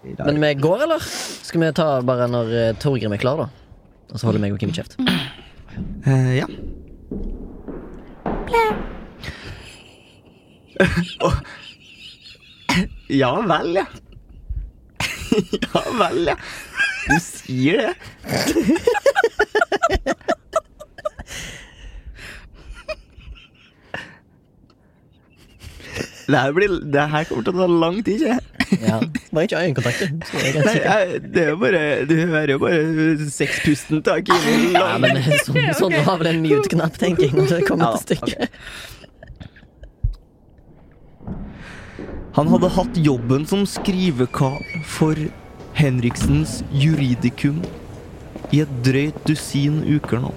i dag. Men vi går, eller? Skal vi ta bare når eh, Torgrim er klar, da? Og så holder meg og Kim kjeft. Eh, ja. Åh. ja vel, ja. ja vel, ja. Du sier det. Det her, blir, det her kommer til å ta lang tid, ikke Ja. Bare ikke øyekontakt, du. Så er det Nei, jeg, det er jo bare, Du hører jo bare sexpusten til Kim. Ja, men eh, sånn, sånn var vel en mute-knapp, tenker jeg, når det kommer til stykket. Ja, Han hadde hatt jobben som skrivekar for Henriksens Juridikum i et drøyt dusin uker nå.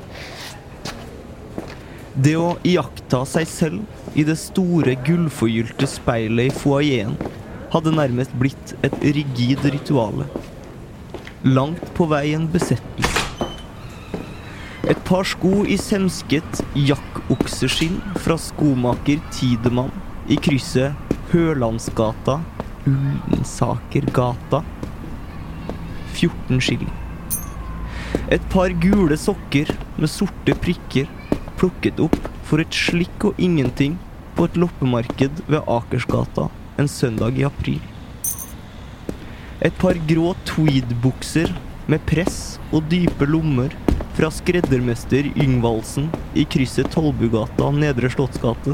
Det å iaktta seg selv i det store, gullforgylte speilet i foajeen hadde nærmest blitt et rigid rituale. Langt på vei en besettelse. Et par sko i semsket jakkokseskinn fra skomaker Tidemann i krysset Hølandsgata, Ullensakergata. 14 skilling. Et par gule sokker med sorte prikker plukket opp for et slikk og ingenting på et loppemarked ved Akersgata en søndag i april. Et par grå tweedbukser med press og dype lommer fra skreddermester Yngvaldsen i krysset Tollbugata og Nedre Slottsgate.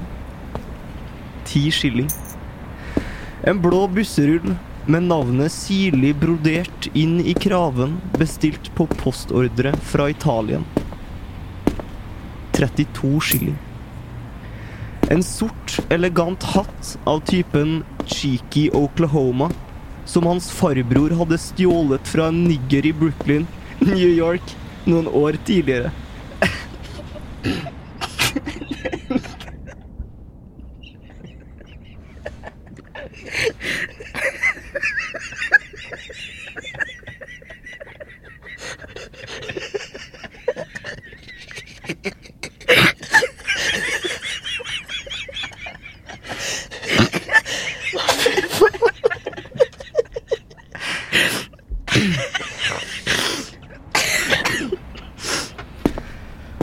Ti skilling. En blå busserull med navnet sirlig brodert inn i kraven, bestilt på postordre fra Italien. 32 skilling. En sort, elegant hatt av typen cheeky Oklahoma, som hans farbror hadde stjålet fra en nigger i Brooklyn, New York, noen år tidligere.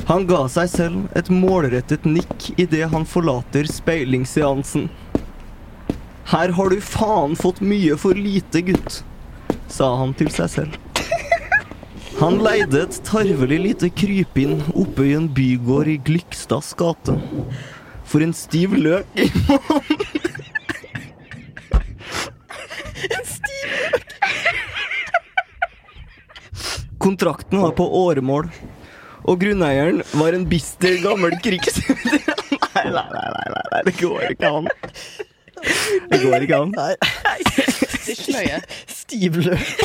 Han ga seg selv et målrettet nikk idet han forlater speilingsseansen. Her har du faen fått mye for lite, gutt, sa han til seg selv. Han leide et tarvelig lite krypinn oppe i en bygård i Glykstads gate. For en stiv løk i måneden! En stiv løk! Kontrakten var på åremål. Og grunneieren var en bister gammel krigshunder. Nei, nei, nei, nei, nei, nei, det går ikke an. Det går ikke an. Nei, Det er ikke nøye. stiv løk.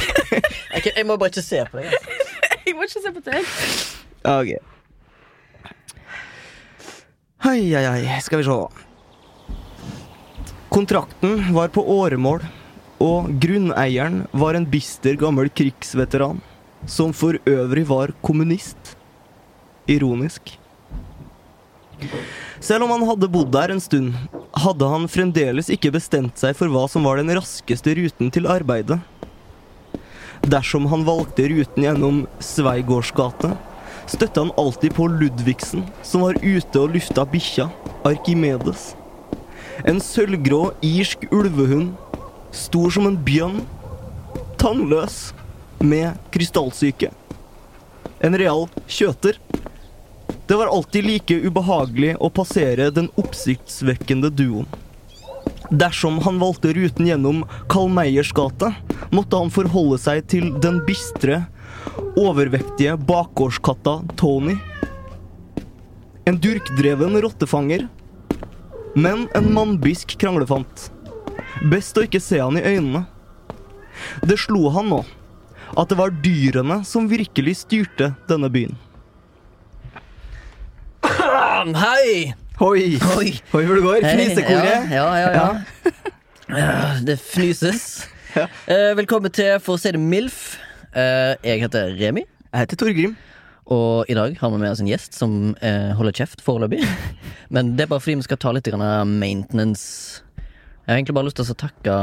Ok, Jeg må bare ikke se på deg. altså. Jeg må ikke se på det. Ok. Hei, hei, hei, skal vi se. Kontrakten var på åremål, og grunneieren var en bister gammel krigsveteran, som for øvrig var kommunist. Ironisk. Selv om han hadde bodd der en stund, hadde han fremdeles ikke bestemt seg for hva som var den raskeste ruten til arbeidet. Dersom han valgte ruten gjennom Sveigårdsgate, støtta han alltid på Ludvigsen, som var ute og lufta bikkja, Arkimedes. En sølvgrå irsk ulvehund, stor som en bjørn, tannløs, med krystallsyke. En real kjøter. Det var alltid like ubehagelig å passere den oppsiktsvekkende duoen. Dersom han valgte ruten gjennom Kalmeiers gate, måtte han forholde seg til den bistre, overvektige bakgårdskatta Tony. En durkdreven rottefanger, men en mannbisk kranglefant. Best å ikke se han i øynene. Det slo han nå at det var dyrene som virkelig styrte denne byen. Hei! Hoi! Oi. Hoi hvor det går, Hei, fnisekoret. Ja, ja, ja. ja. Ja, Det fnyses. Ja. Eh, velkommen til For å si det MILF. Eh, jeg heter Remi, Jeg heter Torgrim. og i dag har vi med oss en gjest som eh, holder kjeft foreløpig. Men det er bare fordi vi skal ta litt grann av maintenance. Jeg har egentlig bare lyst til å takke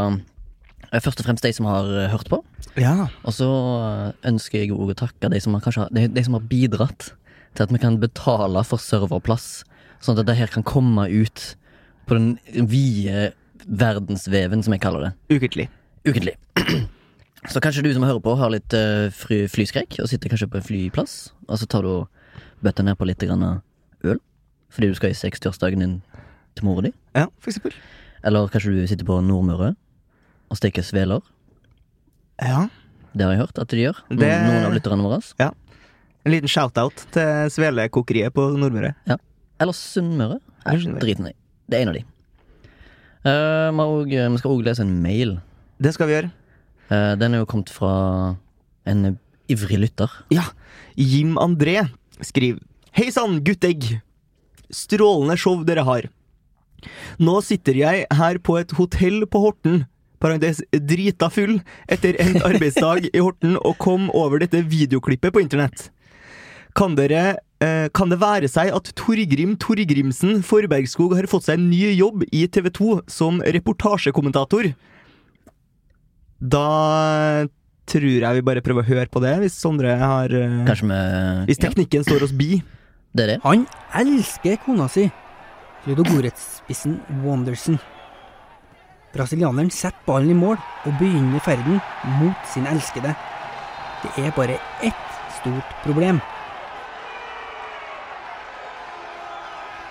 eh, først og fremst de som har eh, hørt på. Ja. Og så eh, ønsker jeg også å takke de som har, kanskje, har- de, de som har bidratt til at vi kan betale for serverplass, sånn at dette her kan komme ut på den vide verdensveven, som jeg kaller det, Ukentlig. ukentlig. Så kanskje du som hører på, har litt eh, fry, flyskrekk og sitter kanskje på en flyplass, og så tar du og bøtter ned på litt grann øl fordi du skal i 60-årsdagen din til mora di. Ja, for eksempel. Eller kanskje du sitter på Nordmøre og steker sveler. Ja. Det har jeg hørt at de gjør. Noen, Det- noen av lytterne våre. En liten shout-out til Svelekokeriet på Nordmøre. Eller Sunnmøre. Eller Sunnmøre. Driten i. Det er en av de. Eh, vi, har også- vi skal òg lese en mail. Det skal vi gjøre. Eh, den er jo kommet fra en eh, ivrig lytter. Ja. Jim André skriver Hei sann, guttegg! Strålende show dere har. Nå sitter jeg her på et hotell på Horten, parentes drita full, etter endt arbeidsdag i Horten og kom over dette videoklippet på internett. Kan dere eh, Kan det være seg at Torgrim Torgrimsen Forbergskog har fått seg en ny jobb i TV 2 som reportasjekommentator? Da tror jeg vi bare prøver å høre på det, hvis Sondre har eh, Kanskje vi Hvis teknikken står oss bi. ja, Det er det. Han elsker kona si, ludogoretsspissen Wanderson. Brasilianeren setter ballen i mål og begynner ferden mot sin elskede. Det er bare ett stort problem.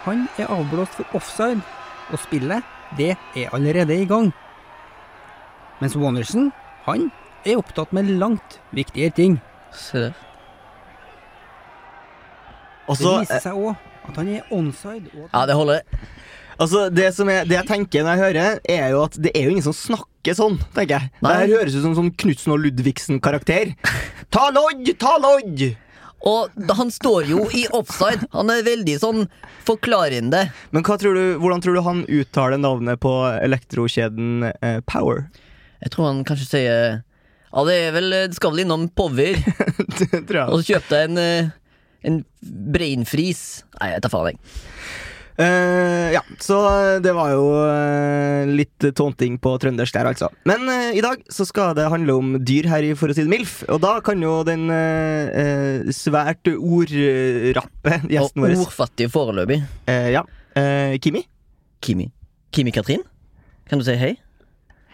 Han er avblåst for offside, og spillet, det er allerede i gang. Mens Wanderson, han er opptatt med langt viktigere ting. Se der. Altså, det viser seg òg at han er onside. Og at Ja, det holder. altså det, som jeg, det jeg tenker når jeg hører, er jo at det er jo ingen som snakker sånn, tenker jeg. Det Nei. her høres ut som en sånn Knutsen og Ludvigsen-karakter. Ta lodd, ta lodd! Og da- han står jo i offside. Han er veldig sånn forklarende. Men hva tror du, hvordan tror du han uttaler navnet på elektrokjeden eh, Power? Jeg tror han kanskje sier Ja, det er vel eh, Det skal vel innom Power. det tror jeg. Og så kjøpte jeg en eh, en brainfreeze. Nei, jeg tar faen, jeg. Eh, ja, så det var jo eh, litt tånting på trøndersk der, altså. Men eh, i dag så skal det handle om dyr her i For å si det MILF, og da kan jo den eh, eh, svært ordrappe Og gjesten vår ordfattig foreløpig. eh, Ja, eh, Kimi? Kimi. Kimi Katrin, kan du si hei?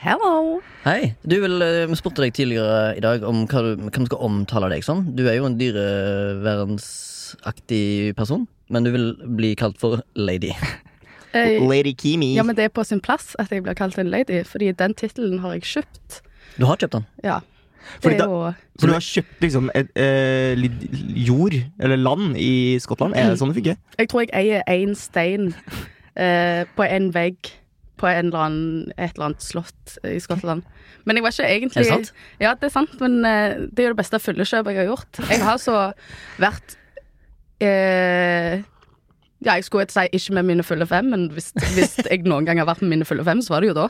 Hello. Hei. Du vil, eh, Vi spurte deg tidligere i dag om hva, du, hva vi skal omtale deg som. Du er jo en dyrevernsaktig person, men du vil bli kalt for lady. Lady Kimi. Eh, ja, men det er på sin plass at jeg blir kalt en lady, fordi den tittelen har jeg kjøpt. Du har kjøpt den. Ja. Fordi Det er jo For du har kjøpt liksom et, eh, litt jord, eller land, i Skottland? Er det sånn det funker? Jeg tror jeg eier én stein eh, på en vegg på en eller annen, et eller annet slott i Skottland. Men jeg var ikke egentlig Er det sant? Ja, det er sant, men eh, det er jo det beste fyllekjøpet jeg har gjort. Jeg har så vært eh, Ja, jeg skulle si ikke med mine fulle fem, men hvis, hvis jeg noen gang har vært med mine fulle fem, så var det jo da.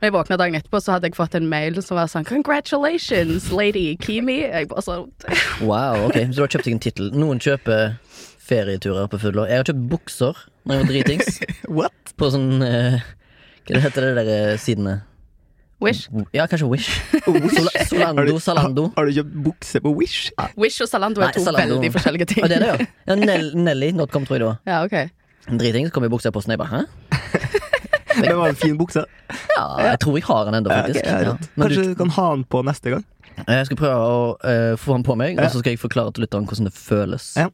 Når jeg våkna dagen etterpå, så hadde jeg fått en mail som var sånn 'Congratulations, lady Kimi'. Jeg bare sånn Wow, ok, Så du har kjøpt deg en tittel. Noen kjøper ferieturer på fullår. Jeg har kjøpt bukser når jeg var dritings. What? På sånn eh, Hva heter det der eh, sidene? Wish. Ja, kanskje Wish. Sola- Oh, Har Solando, du- Salando. Har du kjøpt bukse på Wish? Wish og Zalando Nei, er to Zalando. veldig forskjellige Ah, ting. Og det er det, ja. ja Nell, Nelly.com, tror jeg det var. Ja, ok. En driting, så kom jeg i buksa i posten, og jeg bare hæ? Det var en fin bukse. Ja, jeg tror jeg har den ennå, Ja, ok, faktisk. ja, Ja, rått. Men Kanskje du kan ha den på neste gang? du, jeg skal prøve å eh, få den på meg, og så skal jeg forklare til lytteren hvordan det føles. Ja.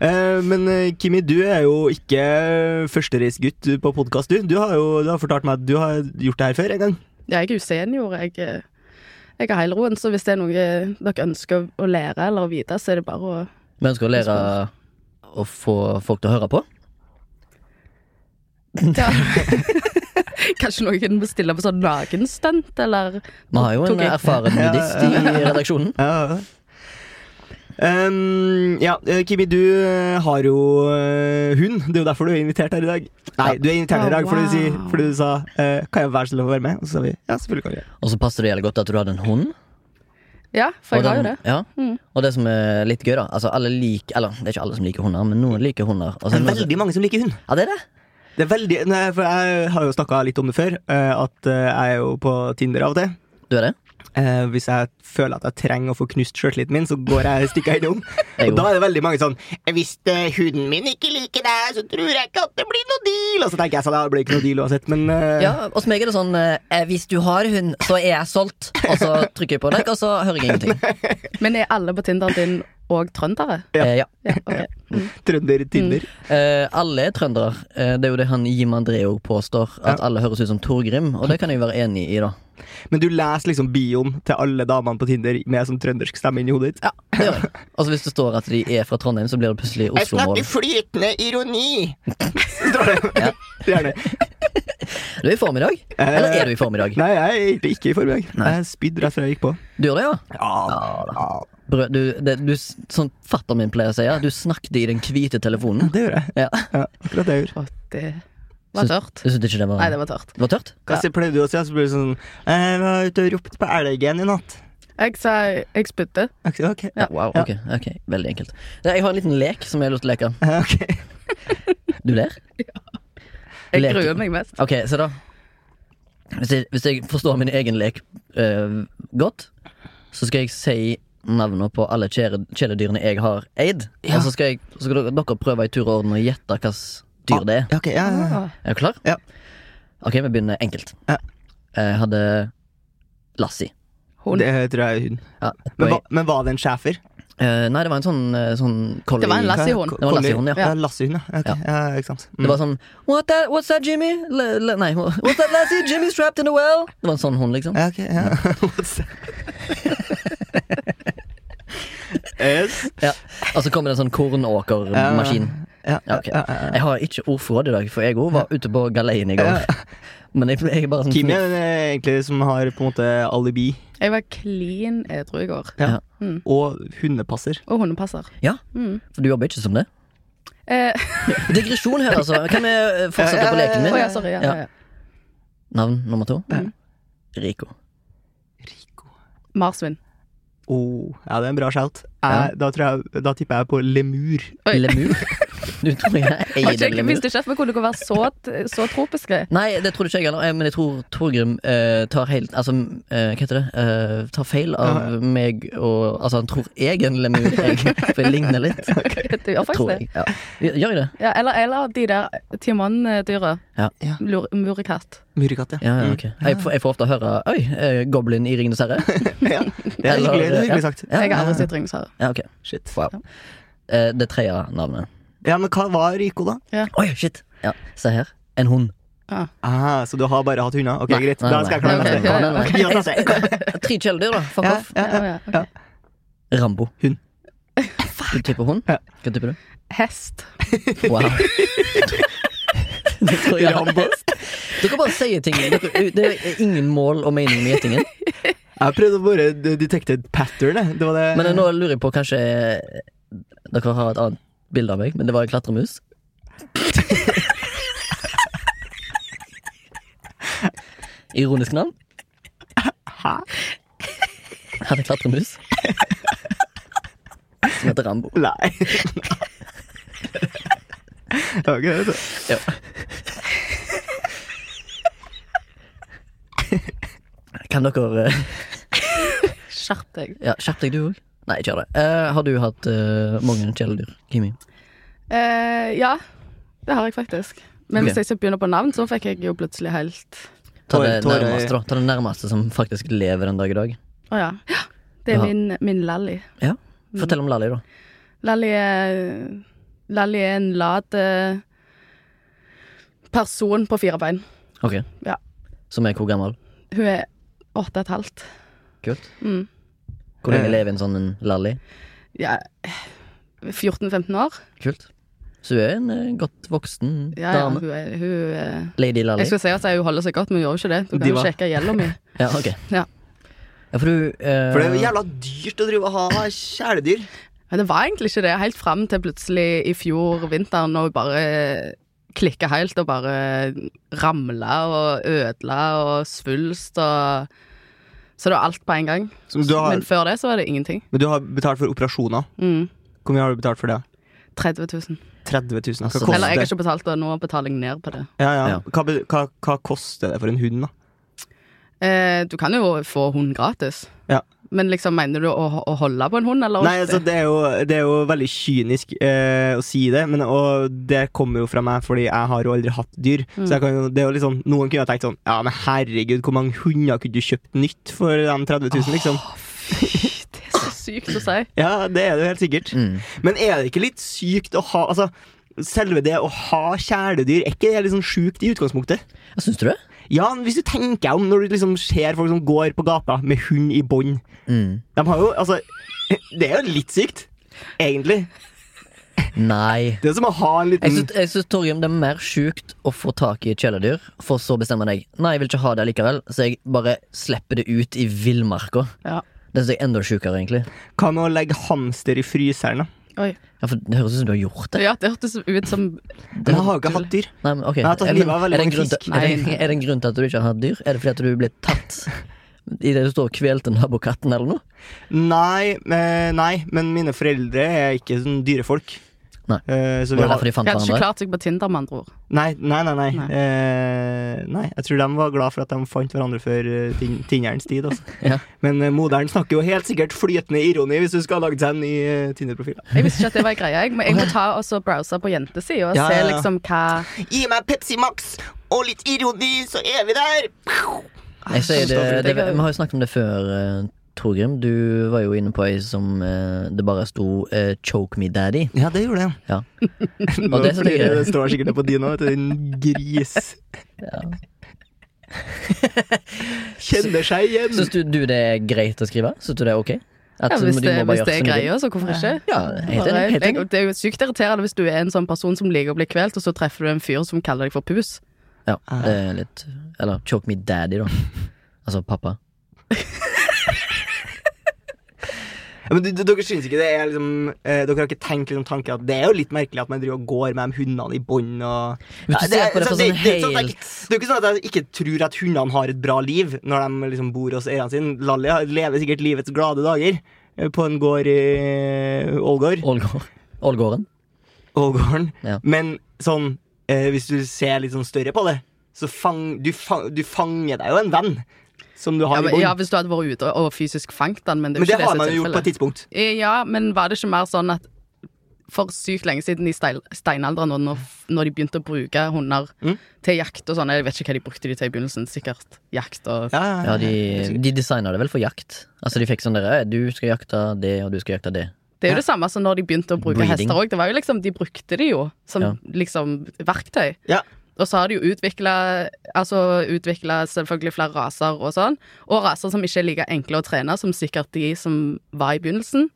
Eh, men eh, Kimi, du er jo ikke førstereisgutt på podkast, du. Du har jo du har fortalt meg at du har gjort det her før en gang. Ja, jeg er jo senior. Jeg, eh, jeg har heilroen, så hvis det er noe dere ønsker å lære eller å vite, så er det bare å Vi ønsker å lære å få folk til å høre på. ja. Kanskje noen kunne bestille på sånn nakenstunt, eller Vi har jo en eh, Tok jeg. erfaren nudist i redaksjonen. Ja, ja. Ehm, ja, eh, Kimi, du eh, har jo eh, hund. Det er jo derfor du er invitert her i dag. Nei, du er invitert her i dag Å, fordi du, sier, wow. fordi du sa eh, 'Kan jeg være så snill å få være med?' Og så sa vi ja, selvfølgelig kan du gjøre Og så passer det jævlig godt at du hadde en hund. Ja, for og jeg har jo den- det. Ja. Mm. Og det som er litt gøy, da altså, alle lik, Eller det er ikke alle som liker hunder, men noen liker hunder. Og så er det det. Det noen er som- veldig mange som liker hund. Ja, det er det. Det er veldig, nei, for Jeg har jo snakka litt om det før, eh, at eh, jeg er jo på Tinder av og til. Du er det? Eh, hvis jeg føler at jeg trenger å få knust sjøltilliten min, så går jeg stikker innom. Jeg Og da gjorde. er det veldig mange sånn Hvis eh, hunden min ikke liker deg, så tror jeg ikke at det blir noe deal. Og så tenker jeg sånn, ja, det blir ikke noe deal uansett, men eh, Ja, hos meg er det sånn eh, Hvis du har hund, så er jeg solgt. Og så trykker jeg på deg, og så hører jeg ingenting. Men er alle på Tinderen din òg trøndere? Ja. Eh, ja. Ja, ok. Mm. Mm. trønder-Tinder. Eh, alle er trøndere. Eh, det er jo det han Jim André òg påstår. At alle høres ut som Torgrim, og det kan jeg være enig i, da. Men du leser liksom bioen til alle damene på Tinder med sånn trøndersk stemme inni hodet ditt. Ja, det gjør jeg. Og så hvis det står at de er fra Trondheim, så blir det plutselig Oslo-mål. flytende ironi! ja. Gjerne. Eh, Du er i form i dag? Eller er du i form i dag? Nei, jeg er egentlig ikke i formiddag. Nei. Jeg spydde rett før jeg gikk på. Du gjør det, ja? Ja, ja, Brød, du, det, du, s- som fatter min pleier å si, ja, du snakket i den hvite telefonen. det gjorde jeg. Ja. Ja, akkurat det jeg gjorde. Og det var Så- tørt. Jeg syntes ikke det var Nei, det var tørt. Det var tørt? Hva sier- pleier du å si? Så blir det sånn Jeg var ute og ropte på elgen i natt. Jeg sa jeg spydde. Jeg sier, Ok, Ja, wow, ok, ok, Veldig enkelt. Nei, Jeg har en liten lek som jeg har lyst til å leke. ja, eh, ok. Du ler? Jeg Leker. gruer meg mest. Ok, se da. Hvis jeg, hvis jeg forstår min egen lek eh, godt, så skal jeg si navnene på alle kjære- kjæledyrene jeg har eid. Og så skal, jeg, så skal dere- dere prøve i tur og orden å gjette hvilket dyr det er. Ja, ok, ja, ja, ja. Ah. Er du klar? Ja. Ok, vi begynner enkelt. Ja. Jeg hadde Lassie. Hund. Det tror jeg er hun. Ja, et Men, poeng. hva- men var det en schæfer? Eh, nei, det var en sånn, eh, sånn collie. Det var en Lassehund. Det var Lassehund, ja. ja. Lassehund, ja. Ok, Ja. ja, ikke sant. Mm. Det var sånn What that, What's that, Jimmy? Le, le, nei, what's that, Lassie? Jimmy's trapped in the well. Det var en sånn hund, liksom. Mm. Ja, ok, ja. What's that? yes. Ja. Og så kommer det en sånn kornåkermaskin. Ja, Ja, ok. Jeg har ikke ordforråd i dag, for jeg òg var ute på galeien i går. Men jeg, jeg er bare sånn Kim er den eh, egentlig som har på en måte alibi Jeg var klin edru i går. Ja. og hundepasser. Og hundepasser. Ja, Mm. For du jobber ikke som det? Eh, Digresjon her, altså. Kan vi eh, fortsette Ja, ja, på ja, leken Å min? ja, sorry. Ja, ja. ja. Navn nummer to? Rico. Rico. Marsvin. Oh, ja, det er en bra shout. Jeg, da, tror jeg, da tipper jeg på lemur. Oi. Lemur? Du tror jeg Jeg eier visste den ikke- lemur? visste ikke at vi kunne gå være så, så tropiske. Nei, det trodde ikke jeg heller, eh, men jeg tror Torgrim eh, tar helt Altså, eh, hva heter det? Eh, tar feil av meg og Altså, han tror jeg er en lemur, jeg, for jeg ligner litt. Det gjør faktisk Tror jeg. det. Ja. Gjør jeg det? Ja, eller, eller de der timandyra. Ja. Ja. Lur- Murekatt. Murekatt, ja. Mm. Ja, ja, ok. Jeg, får- jeg får ofte høre Oi, eh, goblin i Ringenes herre. ja. Det er Eller- hyggelig, det er hyggelig sagt. Ja, Jeg har aldri sett Ringenes herre. Ja, ok. Shit. Wow. Eh, det tredje navnet. Ja, men hva var Rico, da? Oi, shit! Ja, se her. En hund. Ah, så du har bare hatt hunder? Ok, Nei, greit. nei, Da skal jeg klare nei, neste. nei, nei, nei. Vi har neste. Tre kjæledyr, da. Fuck Ja, off. ja, ja. Ja, ja, ok. Rambo. Hund. Du tipper hund? Ja. Hva tipper du? Hest. Wow. Det tror jeg. Dere bare sier ting. Dere, det er ingen mål og mening med gjettingen. Jeg prøvde å bare detekte et pattern. jeg. Det var det. Men nå lurer jeg på, kanskje dere har et annet bilde av meg, men det var en klatremus. Ironisk navn. Hæ? Jeg hadde en klatremus. Som heter Rambo. Nei. Det var ikke det, vet du. Ja. Kan dere eh, Skjerp deg. ja, Skjerp deg, du òg. Nei, ikke gjør det. Eh, har du hatt eh, mange kjæledyr, Kimi? Eh, ja, det har jeg faktisk. Men Ok. hvis jeg skal begynne på navn, så fikk jeg jo plutselig helt Ta det, Tårer- tårer i- nærmeste, da. Ta det nærmeste som faktisk lever den dag i dag. Å ja. ja. Det er Ja. min, min Lally. Ja, Fortell om Lally, da. Lally er Lally er en lat eh, person på fire bein. Ok Ja. Som er hvor gammel? Hun er åtte og et halvt. Kult. Mm. Hvor lenge Eh. lever en sånn en Lally? Ja, 14-15 år. Kult. Så hun er en eh, godt voksen Ja, ja, dame. hun, er- hun eh, Lady Lally. Jeg skulle si at hun holder seg godt, men hun gjør jo ikke det. Du kan De jo var- sjekke gjelda mi. Ja, ok. Ja. Ja, for du eh, For det er jo jævla dyrt å drive og ha kjæledyr. Men det var egentlig ikke det, helt fram til plutselig i fjor vinter, når hun bare klikka helt og bare ramla og ødela og svulst og Så det var alt på en gang. Som du har, Men før det så var det ingenting. men du har betalt for operasjoner. Mm. Hvor mye har du betalt for det? 30 30 000. 000. Hva Altså, koster Eller jeg har det? ikke betalt, og nå betaler jeg ned på det. Ja, ja. Ja. Hva, be- hva, hva koster det for en hund, da? Eh, du kan jo få hund gratis. Ja. Men liksom, mener du å, å holde på en hund, eller? Nei, altså, det er jo, det er jo veldig kynisk eh, å si det, men, og det kommer jo fra meg fordi jeg har jo aldri hatt dyr. Mm. Så jeg kan, jo- det er jo litt sånn, noen kunne ha tenkt sånn Ja, men herregud, hvor mange hunder kunne du kjøpt nytt for de 30 000, liksom? Det er så sykt å si. Ja, det er det jo helt sikkert. Mm. Men er det ikke litt sykt å ha Altså, selve det å ha kjæledyr, er ikke det litt sånn sjukt i utgangspunktet? Ja, Syns du det? Ja, men hvis du tenker deg om når du liksom ser folk som går på gata med hund i bånd. Mm. De har jo Altså, det er jo litt sykt, egentlig. Nei. Det er som å ha en Jeg Mm. liten syns, jeg syns Torgrim, det er mer sjukt å få tak i et kjæledyr, for så bestemmer jeg Nei, jeg vil ikke ha det likevel, så jeg bare slipper det ut i villmarka. Ja. Det syns jeg er enda sjukere, egentlig. Hva med å legge hamster i fryseren, da? Oi. Ja, for Det høres ut som du har gjort det. Ja, det hørtes ut som Men jeg har jo ikke hatt dyr. Nei, men, ok. Jeg har tatt Er- livet men av veldig er det en mange grunn fisk. til- Er det, Nei. er det en grunn til at du ikke har hatt dyr? Er det fordi at du ble tatt idet du står og kvelte nabokatten eller noe? Nei, eh, nei, men mine foreldre er ikke sånn dyrefolk. Nei. Eh, Det så vi var har, derfor de fant Jeg hadde ikke hverandre. klart seg på Tinder, med andre ord. nei, nei, nei. Nei. Nei. Eh, nei. Jeg tror de var glad for at de fant hverandre før eh, tin- tinnerens tid. Altså. Ja. Men eh, moderen snakker jo helt sikkert flytende ironi hvis du skal ha lagd seg en ny eh, Tinder-profil. Jeg visste ikke at det var en greie. Jeg, men jeg må ta og så browse på jentesida og Ja, se ja, ja. liksom hva Gi meg Pepsi Max og litt ironi, så er vi der! Jeg sier det, Kristoffer, det, jeg er- vi har jo snakket om det før, eh, Torgrim. Du var jo inne på ei som eh, det bare sto eh, 'Choke me daddy'. Ja, det gjorde jeg. Ja. det, Og var det som flere, gjør- det står sikkert på din òg, en gris. Kjenner seg igjen. Syns du, du det er greit å skrive? Syns du det er ok? At ja, du hvis, må det, bare hvis gjøre som det er du vil? greia, så hvorfor ikke? Ja, helt enig. Helt enig. Jeg, det er jo sykt irriterende hvis du er en sånn person som liker å bli kvelt, og så treffer du en fyr som kaller deg for pus. Ja, Ah. det er litt Eller choke me daddy, da. Altså pappa. Ja, Men d- d- dere synes ikke det er liksom eh, Dere har ikke tenkt liksom tanken at det er jo litt merkelig at man driver og går med de hundene i bånd og Hvis du Ja, ser på det så fra sånn det er ikke sånn at jeg- helt det er jo ikke sånn at jeg ikke tror at hundene har et bra liv når de liksom bor hos eierne sine. Lalli har- lever sikkert livets glade dager eh, på en gård i Ålgård. Ålgård- Ålgården. Ålgården. Ja. Men sånn eh, Hvis du ser litt sånn større på det, så fang, du, fang, du fanger deg jo en venn som du Ja, har i men, bånd. ja, hvis du hadde vært ute og, og fysisk fangt den, men det er men jo det ikke det har som man er jo gjort på et tilfellet. tidspunkt. Eh, Ja, men var det ikke mer sånn at for sykt lenge siden i steil- steinalderen, og når, når de begynte å bruke hunder Mm. til jakt og sånn Jeg vet ikke hva de brukte de til i begynnelsen, sikkert jakt og Ja, de, de designa det vel for jakt. Altså De fikk sånn derre «Eh, Du skal jakte det, og du skal jakte det. Det er jo Ja. det samme som når de begynte å bruke Breeding. hester òg. Liksom, de brukte de jo som Ja. liksom, verktøy. Ja. Og så har de jo utvikla altså, utviklet selvfølgelig flere raser og sånn. Og raser som ikke er like enkle å trene som sikkert de som var i begynnelsen.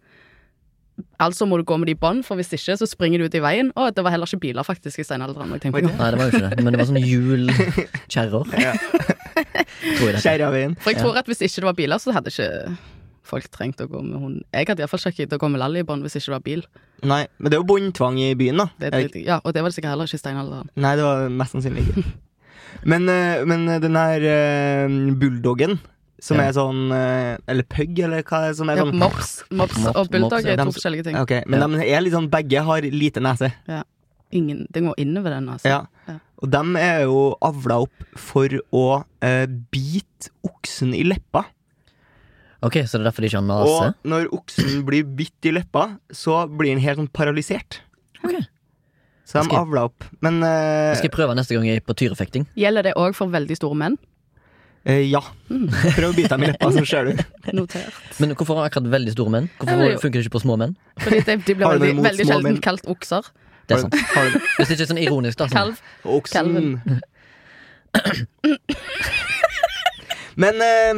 Altså må du gå med de i bånd, for hvis ikke så springer du ut i veien. Å, det var heller ikke biler faktisk i steinalderen. Jeg tenker på. Nei, det var jo ikke det. Men det var sånne hjulkjerrer. Ja. Tror jeg det. heter. Kjerraveien. For jeg tror at hvis ikke det var biler, så hadde ikke folk trengt å gå med hund. Jeg hadde iallfall ikke giddet å gå med Lally i bånd hvis ikke det var bil. Nei, men det er jo båndtvang i byen, da. Det, Er det ikke? ja, og det var det sikkert heller ikke i steinalderen. Nei, det var mest sannsynlig ikke. Men, eh, men den her eh, bulldoggen, som Ja. er sånn eh, Eller pug, eller hva er- som er Ja, sånn mops, mops Mops- og bulldog mops, ja. er Dem- to forskjellige ting. Ok, Men Ja. de er litt sånn Begge har lite nese. Ingen, det går innover den, altså. Ja. Ja. Og de er jo avla opp for å eh, bite oksen i leppa. Ok, Så det er derfor de ikke har nase? Og når oksen blir bitt i leppa, så blir den helt sånn paralysert. Ok. Så de Skal- avla opp. Men eh, Jeg skal prøve neste gang jeg er på tyrefekting. Gjelder det òg for veldig store menn? eh, ja. Prøv å bite dem i leppa, så ser du. Notert. Men hvorfor akkurat veldig store menn? Jeg Hvorfor vil- funker det ikke på små menn? Fordi de, de blir Har du noe veldig, imot veldig små sjelden menn? kalt okser. Det er sant. Har du- Hvis det ikke er sånn ironisk, da. Sånn. Kalv. Oksen. Calvin. Men, eh,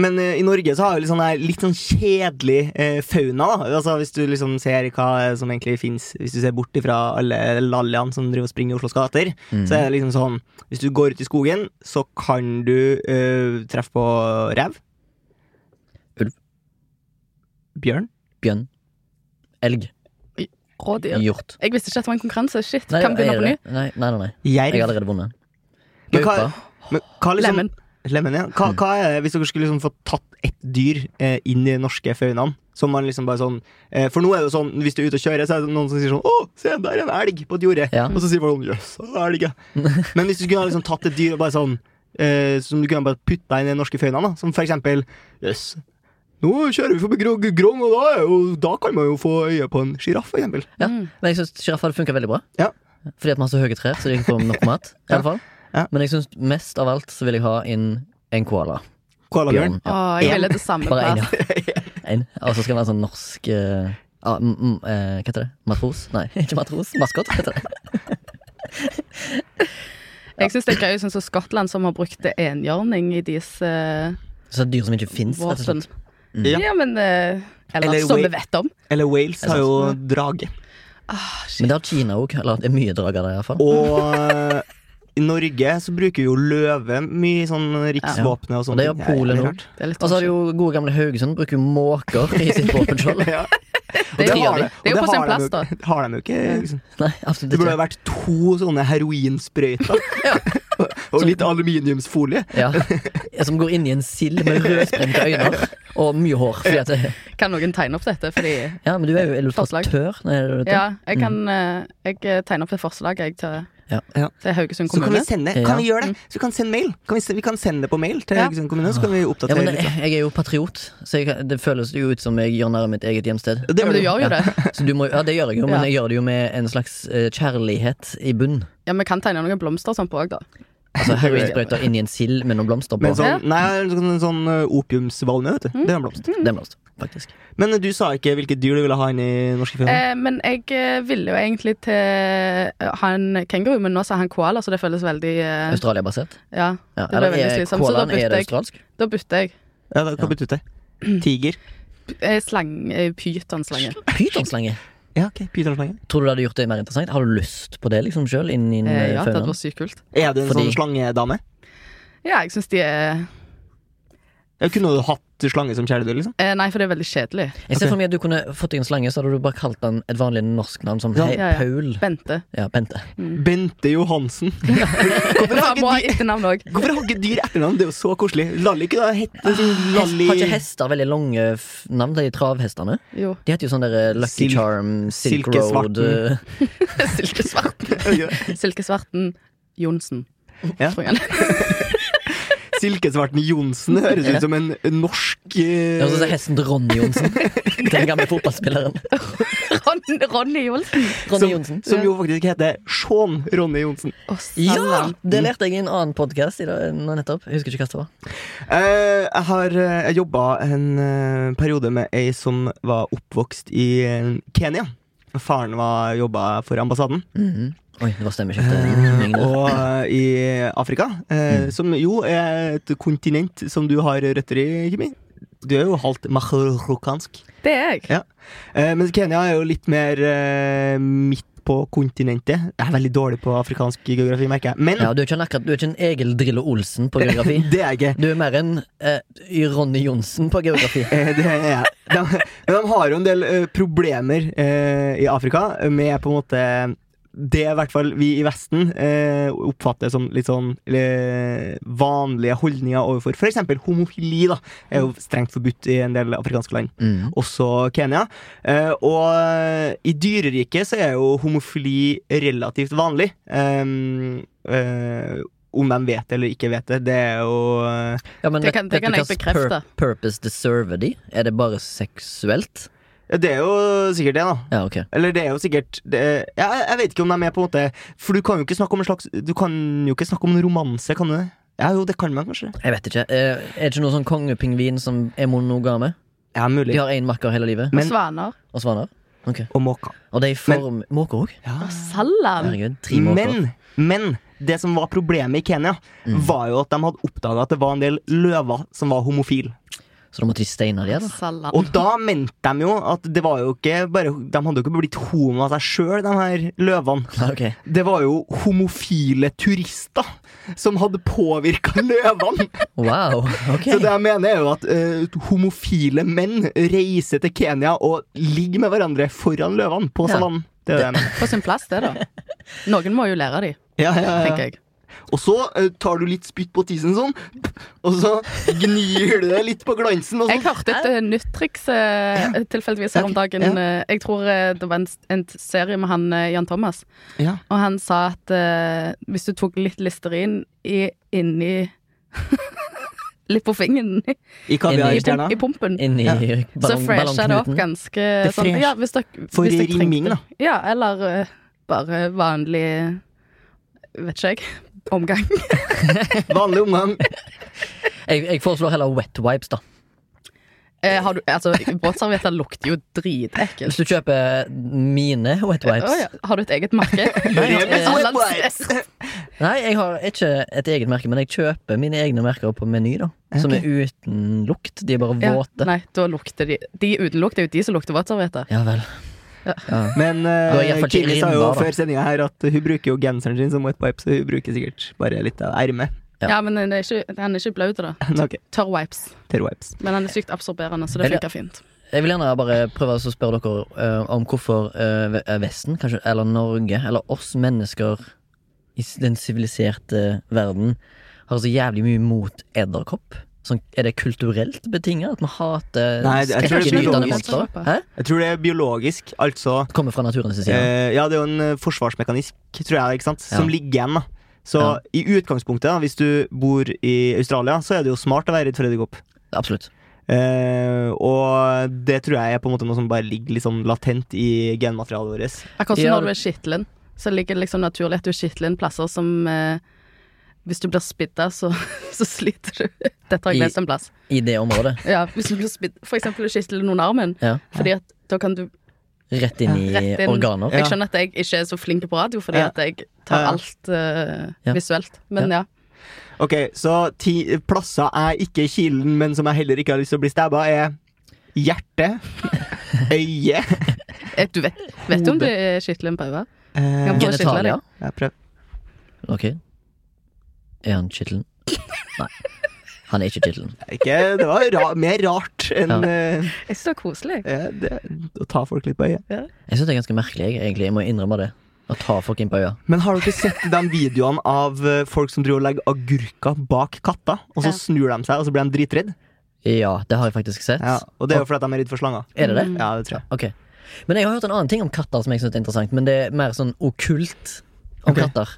men eh, i Norge så har vi litt sånn, her- litt sånn kjedelig eh, fauna. da Altså Hvis du liksom ser hva som egentlig fins, hvis du ser bort ifra alle laljaene som driver og springer i Oslos gater, Mm. så er det liksom sånn Hvis du går ut i skogen, så kan du eh, treffe på rev. Ulv. Bjørn. Bjørn. Elg. Rådyr. Hjort. Jeg visste ikke at det var en konkurranse. Shit, Nei, kan vi begynne er på ny. det- Nei, nei, nei, nei. Jeg har Jerv. allerede vunnet. Men hva, Gaupa. men hva liksom Lemen. Lemen, ja. Mm. Hva, hva er det, hvis dere skulle liksom få tatt ett dyr eh, inn i den norske faunaen? Som man liksom bare sånn eh, For nå er det jo sånn, hvis du er ute og kjører, så er det noen som sier sånn Å, se, der er en elg på et jorde. Ja. Og så sier folk sånn Jøss, yes, elg, ja. Men hvis du kunne ha liksom tatt et dyr og bare sånn eh, som du kunne bare putta inn i den norske faunaen, da, som for eksempel Jøss, nå kjører vi forbi Gro- Grong, og da, er jo, da kan man jo få øye på en sjiraff, for eksempel. Ja. Mm. Men jeg syns sjiraff hadde funka veldig bra. Ja. Fordi at vi har så høye trær, så de ikke får nok mat. I alle fall. Ja. Men jeg syns mest av alt så vil jeg ha inn en koala. Koalabjørn. Ja. Å, jeg ville til samme Bare én, plass. ja. En. Og så skal det være en sånn norsk eh, ah, mm, mm, eh, Hva heter det? Matros? Nei, ikke matros. Maskot, heter det. Jeg syns det er gøy sånn som Skottland, som har brukt enhjørning i deres eh, Så dyr som ikke fins, rett og våpen. slett. Ja. Mm. Ja. men eh, Eller, Eller som Wa- vi vet om. Eller Wales har jo drage. Men det har Kina òg. Eller det er mye drager der, iallfall. Og eh, i Norge så bruker vi jo løve mye i sånn riksvåpenet og Og sånne det gjør ting. Polen Ja, òg. klart. Det er litt Og så har de jo gode gamle Haugesund. Bruker jo måker i sitt våpenskjold. Ja. Det det er har jo- de. det er jo på sin plass, da. Det har de jo ikke. Mm. Liksom. Nei, absolutt Det burde ikke. ha vært to sånne heroinsprøyter. og litt aluminiumsfolie. Ja. Som går inn i en sild med rødsprengte øyne og mye hår. Fordi at det, Kan noen tegne opp dette? Fordi Ja, men du er jo Forslag. illustratør. Nei, er du det? Ja, jeg kan eh, Jeg tegner opp et forslag jeg, til, Ja. Ja. til Haugesund Så kan vi kommune. sende Ja. Kan vi gjøre det? Så vi kan sende mail. Kan vi, se- vi kan sende det på mail til Ja. Haugesund kommune, så kan vi Ja, oppdatere men litt. jeg, jeg er jo patriot, så jeg, kan- det føles jo ut som jeg gjør narr av mitt eget hjemsted. Det Ja, men du gjør jo det. Så du må, ja, det gjør jeg jo, men Ja. jeg gjør det jo med en slags eh, kjærlighet i bunn. Ja, Vi kan tegne noen blomster og sånn på òg, da. Altså heroinsprøyter inn i en sild med noen blomster på. Men Det Ja. sånn, Mm. nei, en sånn, en sånn eh, opiumsvalmue, vet du. Det er en blomst. er en blomst, faktisk. Men eh, du sa ikke hvilket dyr du ville ha inn i norske filmer. Eh, men jeg eh, ville jo egentlig til eh, ha en kenguru, men nå sa han koala, så det føles veldig eh, Australia-basert. Ja. Ja, Det ble eller veldig er slitsomt, så da koalaen er bytter det jeg. australsk? Da bytter jeg. Ja, da, hva betyr det? Tiger? Eh, Slang, eh, Pytonslange. Pytonslange. Ja, ok, pytonslange. Tror du det hadde gjort det mer interessant? Har du lyst på det liksom sjøl? Inn i Eh, ja, det hadde faunaen? vært sykt kult. Er du en Fordi- sånn slangedame? Ja, jeg syns de er Ja, kunne du hatt slange som kjæledyr, liksom? eh, Nei, for det er veldig kjedelig. Jeg ser Ok. for meg at du kunne fått deg en slange, så hadde du bare kalt den et vanlig norsk navn som Ja. Hei, Ja, ja. Paul. Bente. Ja, Bente. Bente Johansen. Hvorfor har Ja, ikke bra dyr, etternavn òg. hvorfor har ikke dyr etternavn? Det er jo så koselig. Lalli kunne ha hett sin Hest, Lalli Ah, har ikke hester veldig lange f- navn, de travhestene? Jo. De heter jo sånn der eh, Lucky Sil- Charm, Silk Road Silkesvarten. eh, Silkesvarten. Silkesvarten Johnsen. Ja. tror jeg. Silkesvarten Johnsen høres Ja. ut som en norsk eh, Det er også hesten til Ronny Johnsen. Den gamle fotballspilleren. Ron, Ronny Johnsen. Ronny som, Johnsen. som jo faktisk heter Sean Ronny Johnsen. Å, Ja! Sallan. Det lærte jeg i en annen podkast nå nettopp. Jeg husker ikke hva det var. Eh, jeg har uh, jobba en eh, periode med ei som var oppvokst i eh, Kenya. Faren var jobba for ambassaden. Mhm. Oi, det var Eh, stemmeskifte. og eh, i Afrika, eh, som jo er et kontinent som du har røtter i, Kimi. Du er jo halvt marokkansk. Det er jeg. Ja. Eh, mens Kenya er jo litt mer eh, midt på kontinentet. Jeg er veldig dårlig på afrikansk geografi, merker jeg. Men Ja, du er ikke en, akkurat, du er ikke en Egil Drillo Olsen på geografi. det er jeg ikke. Du er mer en eh, Ronny Johnsen på geografi. Eh, Det er jeg. De, men de har jo en del eh, problemer eh, i Afrika med på en måte det i hvert fall vi i Vesten eh, oppfatter som litt sånn eh, vanlige holdninger overfor f.eks. homofili. da er jo strengt forbudt i en del afrikanske land, Mm. også Kenya. Eh, og i dyreriket så er jo homofili relativt vanlig. Um, eh, om de vet det eller ikke vet det, det er jo eh, Ja, men Det kan- det vet- kan vet jeg du hva slags bekrefte. purpose det server de? Er det bare seksuelt? ja, Det er jo sikkert det, da. Ja, ok. Eller det er jo sikkert det, ja, Jeg jeg vet ikke om de er med på en måte For du kan jo ikke snakke om en slags Du kan jo ikke snakke om en romanse, kan du det? Ja, jo, det kan man kanskje. Jeg vet ikke. Eh, Er det ikke noen sånn kongepingvin som er monogame? Ja, mulig. De har én makker hele livet. Men- Svaner. Og svaner. Ok. og måka. Og de får måker òg. Å, Salam! Herregud, tre måker. Men, men det som var problemet i Kenya, var jo at de hadde oppdaga at det var en del løver som var homofile. Så da måtte de steine de, da. Salam. Og da mente de jo at det var jo ikke bare De hadde jo ikke blitt homo av seg sjøl, de her løvene. Ja, ok. Det var jo homofile turister som hadde påvirka løvene. Wow, ok. Så det jeg mener, er jo at eh, homofile menn reiser til Kenya og ligger med hverandre foran løvene på Ja. savannen. Det er det jeg mener. På sin plass, det, da. Noen må jo lære de, Ja, ja, ja. tenker jeg. Og så eh, tar du litt spytt på tissen sånn, og så gnir du det litt på glansen. Og Jeg sånn. hørte et eh, nytt triks eh, tilfeldigvis her om dagen. Eh, Jeg tror eh, det var en, en serie med han eh, Jan Thomas, Ja. og han sa at eh, hvis du tok litt Listerin i, inni Litt på fingeren i, I Inni- i, kaviarstjerna. pump, i pumpen. Inni Ja. Så ballong, fresha det opp ballongknuten. ganske Det sånn, fresh. ja, hvis dere, For hvis dere trengte rimming, det. da. Ja, eller eh, bare vanlig Vet ikke jeg. Omgang. sånn. Vanlig omgang. Jeg, jeg foreslår heller wet wipes, da. Eh, har du, altså, Båtservietter lukter jo dritekkelt. Hvis du kjøper mine wet wipes Å ja. Har du et eget merke? Remis Eh, wet wipes. Nei, jeg har ikke et eget merke, men jeg kjøper mine egne merker på Meny, da. Som er uten lukt. De er bare Ja, våte. nei, da lukter de De uten lukt er jo de som lukter våtservietter. Ja vel. Men Du har i hvert uh, fall ikke Kimi sa jo rimba, da. før sendinga her at hun bruker jo genseren sin som wet wipe, så hun bruker sikkert bare litt av ermet. Ja. Ja. men den er ikke, han er ikke blaut, da. Men ok, Tørr wipes. til wipes. Men han er sykt absorberende, så det Eller- funker fint. Jeg vil gjerne bare prøve å spørre dere eh, om hvorfor eh, ve- eh, Vesten, kanskje, eller Norge, eller oss mennesker i s- den siviliserte verden, har så jævlig mye mot edderkopp. Sånn, er det kulturelt betinga at vi hater Nei, det- jeg tror det er sånn skrekkinngytende biologisk. monstre? Hæ? Jeg tror det er biologisk, altså Kommer fra naturens side. Eh, ja, det er jo en eh, forsvarsmekanisk, tror jeg, ikke sant? som Ja. ligger igjen. da Så Ja. i utgangspunktet, da, hvis du bor i Australia, så er det jo smart å være redd for edderkopp. Absolutt. Eh, og det tror jeg er på en måte noe som bare ligger litt sånn latent i genmaterialet vårt. Akkurat som Ja, når du er skitlen, så ligger det liksom naturlig at du er skitlen plasser som eh, Hvis du blir spidda, så, så sliter du. Dette har jeg I- lest en plass. I det området. Ja, hvis du blir spidd, for eksempel skitlen under armen. Ja. Fordi at da kan du Rett inn i rett inn organer. Ja. Jeg skjønner at jeg ikke er så flink på radio, fordi Ja. at jeg tar Ja. alt eh, Ja. visuelt. Men ja. Ok, Så ti plasser jeg ikke kilen, men som jeg heller ikke har lyst til å bli stabba, er hjerte, øye Eh, Du vet, vet du om du er skitlen på øyet? eh, Ja. Genitalia. jeg prøv- Ok. Er han kittelen? Nei. Han er ikke kittelen. ikke, Det var ra mer rart enn Ja. eh, Jeg synes det var koselig. eh, det, å ta folk litt på øyet. Jeg syns det er ganske merkelig, jeg, egentlig. Jeg må innrømme det. Å ta folk inn på øya. Men har dere sett de videoene av eh, folk som driver og legger agurker bak katter, og så Ja. snur de seg, og så blir de dritredd? Ja, det har jeg faktisk sett. Ja, og det er jo fordi at de er redd for slanger. Er det det? Ja, det tror jeg. Ok. Men jeg har hørt en annen ting om katter som jeg synes er interessant, men det er mer sånn okkult om Ok. katter.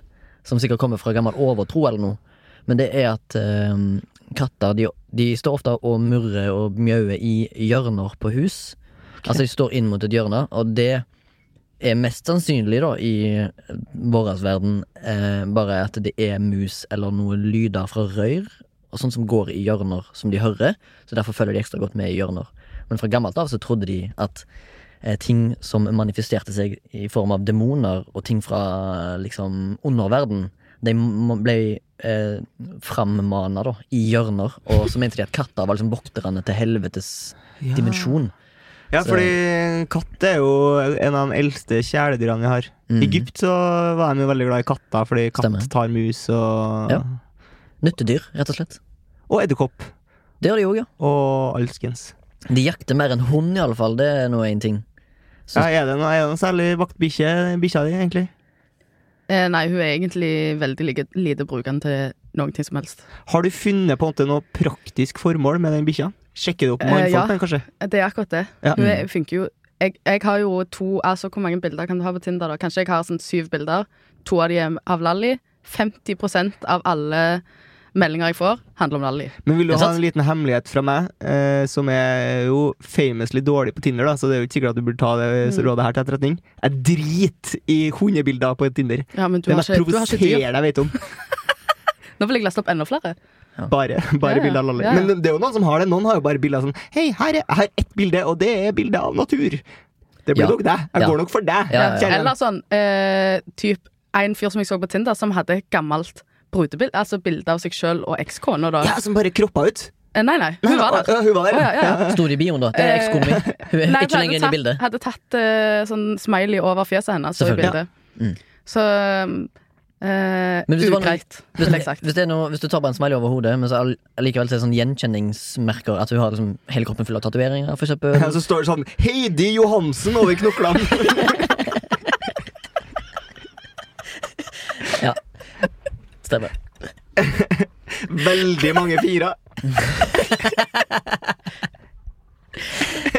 Som sikkert kommer fra gammel overtro eller noe. Men det er at eh, katter de, de står ofte og murrer og mjauer i hjørner på hus. Altså de står inn mot et hjørne, og det er mest sannsynlig da i vår verden eh, bare at det er mus eller noen lyder fra røyr og sånt som går i hjørner som de hører, så derfor følger de ekstra godt med i hjørner. Men fra gammelt av så trodde de at eh, ting som manifesterte seg i form av demoner og ting fra eh, liksom underverden, de m- ble eh, frammana da, i hjørner, og så mente de at katter var liksom vokterne til helvetes Ja. dimensjon. Ja, fordi katt er jo en av de eldste kjæledyrene vi har. Mhm. I Egypt så var de jo veldig glad i katter, fordi katt Stemmer. tar mus og Ja. Nyttedyr, rett og slett. Og edderkopp. Det gjør de òg, ja. Og alskens. De jakter mer enn hund, iallfall. Det er nå én ting. Så- Ja, er det noe, er det noe særlig vaktbikkje, bikkja di, egentlig? Eh, nei, hun er egentlig veldig like, lite brukende til noen ting som helst. Har du funnet på en måte noe praktisk formål med den bikkja? Sjekker du opp Eh, mannfolk, ja. den, kanskje? Eh, Det er akkurat det. Ja. Hun er, funker jo jeg, jeg har jo to Altså, hvor mange bilder kan du ha på Tinder, da? Kanskje jeg har sånn syv bilder. To av de er av Lally. 50 av alle meldinger jeg får, handler om Lally. Men vil du Det er ha sant. en liten hemmelighet fra meg, eh, som er jo famously dårlig på Tinder, da, så det er jo ikke sikkert at du burde ta det Mm. rådet her til etterretning. Jeg driter i hundebilder på Tinder. Ja, men du Den har jeg ikke, du har ikke dyr. provoserer deg, vet du om. Nå vil jeg leste opp enda flere. Bare, bare Ja, ja. bilder av Lalli. Ja, ja. Men det er jo noen som har det. Noen har jo bare bilder sånn Hei, her er, her er ett bilde, og det er bilde av natur. Det blir Ja. nok deg. Jeg Ja. går nok for deg. Ja, ja. kjære. Eller sånn eh, typ en fyr som jeg så på Tinder, som hadde et gammelt brudebilde, altså bilde av seg sjøl og ekskona, da. Ja, som bare kroppa ut. Eh, Nei, nei, hun var der. Ja, hun var der. Å, ja, ja, ja. Sto det i bioen, da? Det Eh, er ekskona mi. Hun er Nei, for ikke lenger inne i hadde tatt, bildet. hadde tatt eh, sånn smiley over fjeset hennes så i Selvfølgelig. bildet. Mm. Så eh, Men hvis det var noe- Ugreit, Hvis, ville jeg sagt. hvis, det er noe, hvis du tar bare en smiley over hodet, men så all- likevel så er det sånn gjenkjenningsmerker at hun har liksom hele kroppen full av tatoveringer, for eksempel. Ja, så står det sånn Heidi Johansen over knoklene. Stemmer. Veldig mange fire.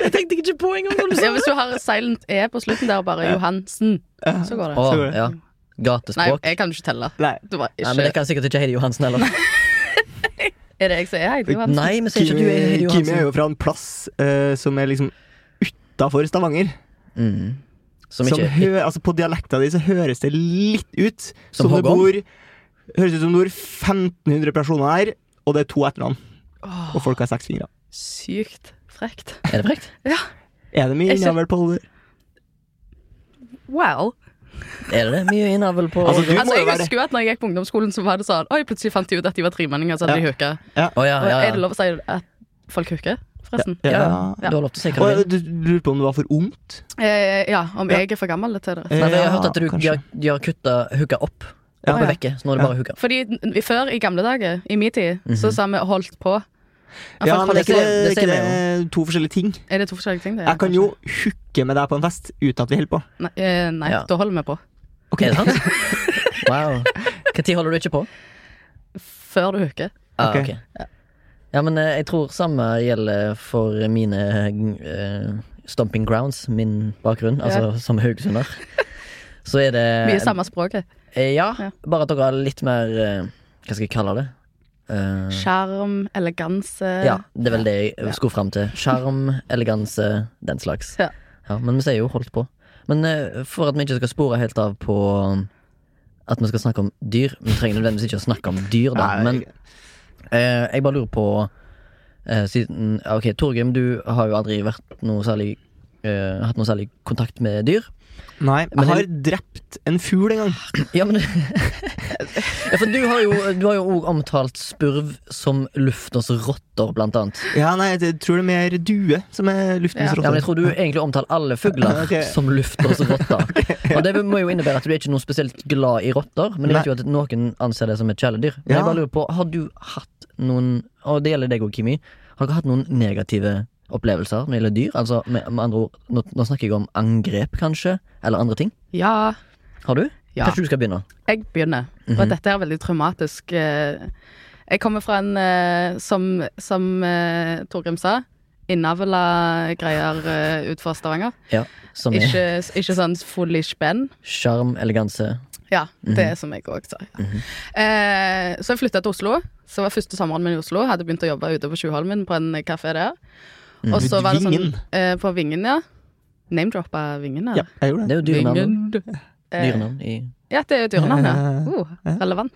Jeg tenkte ikke på engang! Ja, hvis du har silent E på slutten der, bare Johansen, så går det. Å, Så går det. ja. Nei, Gatespråk. jeg kan ikke telle. Nei. Det var Nei, men det ikke kan sikkert ikke Heidi Johansen heller. Er det jeg som er Heidi Johansen? Nei, men sier ikke du er Heidi Kimi, Kimi er Johansen? jo fra en plass eh, som er liksom utafor Stavanger. Mm. Som Som ikke hø altså På dialekta di så høres det litt ut Som som, det Håkon? bor Høres ut som det bor 1500 personer her, og det er to etternavn. Åh, Og folk har seks fingre. sykt frekt. Er det frekt? Er det mye Jeg ser- innavl på alder? Wow. Er det det? Mye innavl på Altså, du- Å må Altså, jo jeg være- husker jo at når jeg gikk på ungdomsskolen, så var det sånn Oi, plutselig fant de ut at de var tremenninger, så hadde de hooka. ja, Og ja, Er det ja. lov å si at folk hooker, forresten? ja. Ja. Du har lov til å si hva du Og vil. du du lurer på om det var for ungt? Eh, ja, om jeg er for gammel til det. Eh, Nei, for jeg har hørt at du, kanskje. de har, de har kutta hooka opp. Oppe Ja. vekke. Så nå er det bare hooka. Fordi n- vi- før, i gamle dager, i min tid, Mhm. så sa vi 'holdt på'. Altså, Ja, men folk- er ikke det, det er ser ikke vi det to forskjellige ting? Er det to forskjellige ting? Det, er, Jeg kan jo hooke med deg på en fest uten at vi holder på. kanskje? Nei, eh, nei Ja. da holder vi på. Er det sant? Wow. Når holder du ikke på? Før du hooker. Ah, Ok. ok. Ja, men eh, jeg tror samme gjelder for mine eh, stomping grounds, min bakgrunn, altså som haugesunder. Så er det Mye samme språket. Eh, Ja, Ja. bare at dere har litt mer eh, Hva skal jeg kalle det? Eh, Sjarm, eleganse ja, det er vel det jeg skulle fram til. Sjarm, eleganse, den slags. Ja. Ja, men vi sier jo 'holdt på'. Men eh, for at vi ikke skal spore helt av på um, at vi skal snakke om dyr Vi trenger nødvendigvis ikke å snakke om dyr, da, Nei, men eh, jeg bare lurer på eh, siden ja, Ok, Torgrim, du har jo aldri vært noe særlig eh, hatt noe særlig kontakt med dyr. Nei, Men jeg har drept en fugl en gang. Ja, men ja, For du har jo Du har jo òg omtalt spurv som luftas rotter, blant annet. Ja, nei, jeg tror det er mer due som er Ja, luftens Ja. men rotte. jeg tror du egentlig omtaler alle fugler Ok. som luftas rotter. Og det må jo innebære at du er ikke noe spesielt glad i rotter, men jeg vet jo at noen anser det som et kjæledyr. Men Ja. jeg bare lurer på, har du hatt noen Og det gjelder deg òg, Kimi. Har dere hatt noen negative opplevelser når det gjelder dyr? Altså, med, med andre ord, nå, nå snakker jeg om angrep, kanskje, eller andre ting. Ja. Har du? Ja. Kanskje du skal begynne? Mhm. Jeg begynner. Og dette er veldig traumatisk. eh, Jeg kommer fra en eh, som, som eh, Torgrim sa, innavla greier utenfor Stavanger. Ja. Som er Ikke, ikke sånn full i spenn. sjarm, eleganse Ja, det Mhm. er som jeg òg sa. Ja. eh, så jeg flytta til Oslo. Så var første sommeren min i Oslo. Hadde begynt å jobbe ute på Tjuvholmen, på en kafé der. Mhm. Og så var det sånn Vingen. eh, På Vingen, ja. Name-droppa Vingen, Ja, jeg gjorde det. Det er jo dyrenavn. Eh, Dyrenavn i Ja, det er jo dyrenavn, Ja, ja. Uh, relevant.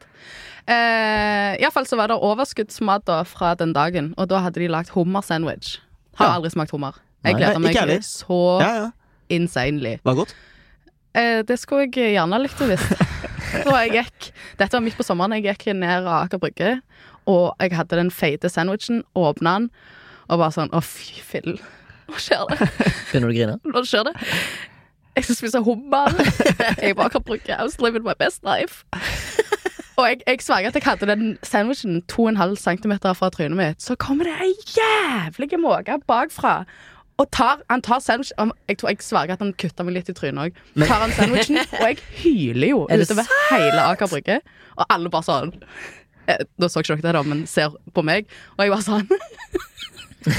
Uh, Iallfall så var det overskuddsmat da fra den dagen, og da hadde de lagd hummersandwich. Har Ja. aldri smakt hummer. Nei, Jeg ikke gleder meg heller. så Ja, ja. insanely. Var det godt? Eh, det skulle jeg gjerne likt å visst. Og jeg gikk Dette var midt på sommeren. Jeg gikk ned Aker Brygge, og jeg hadde den feite sandwichen, åpna den, og bare sånn Å, fy fillen. Hva skjer det? Begynner du å grine? Nå skjer det. Jeg skal spise hummer. Jeg bare kan bruke I was living my best life. Og jeg, jeg sverger at jeg hadde den sandwichen 2,5 cm fra trynet mitt. Så kommer det ei jævlig måke bakfra. Og tar, han tar sandwich han- Jeg tror jeg sverger at han kutta meg litt i trynet òg. Tar han sandwichen, og jeg hyler jo Er det utover hele Aker Brygge. Og alle bare sånn eh, Nå så ikke dere det, da, men ser på meg. Og jeg bare sånn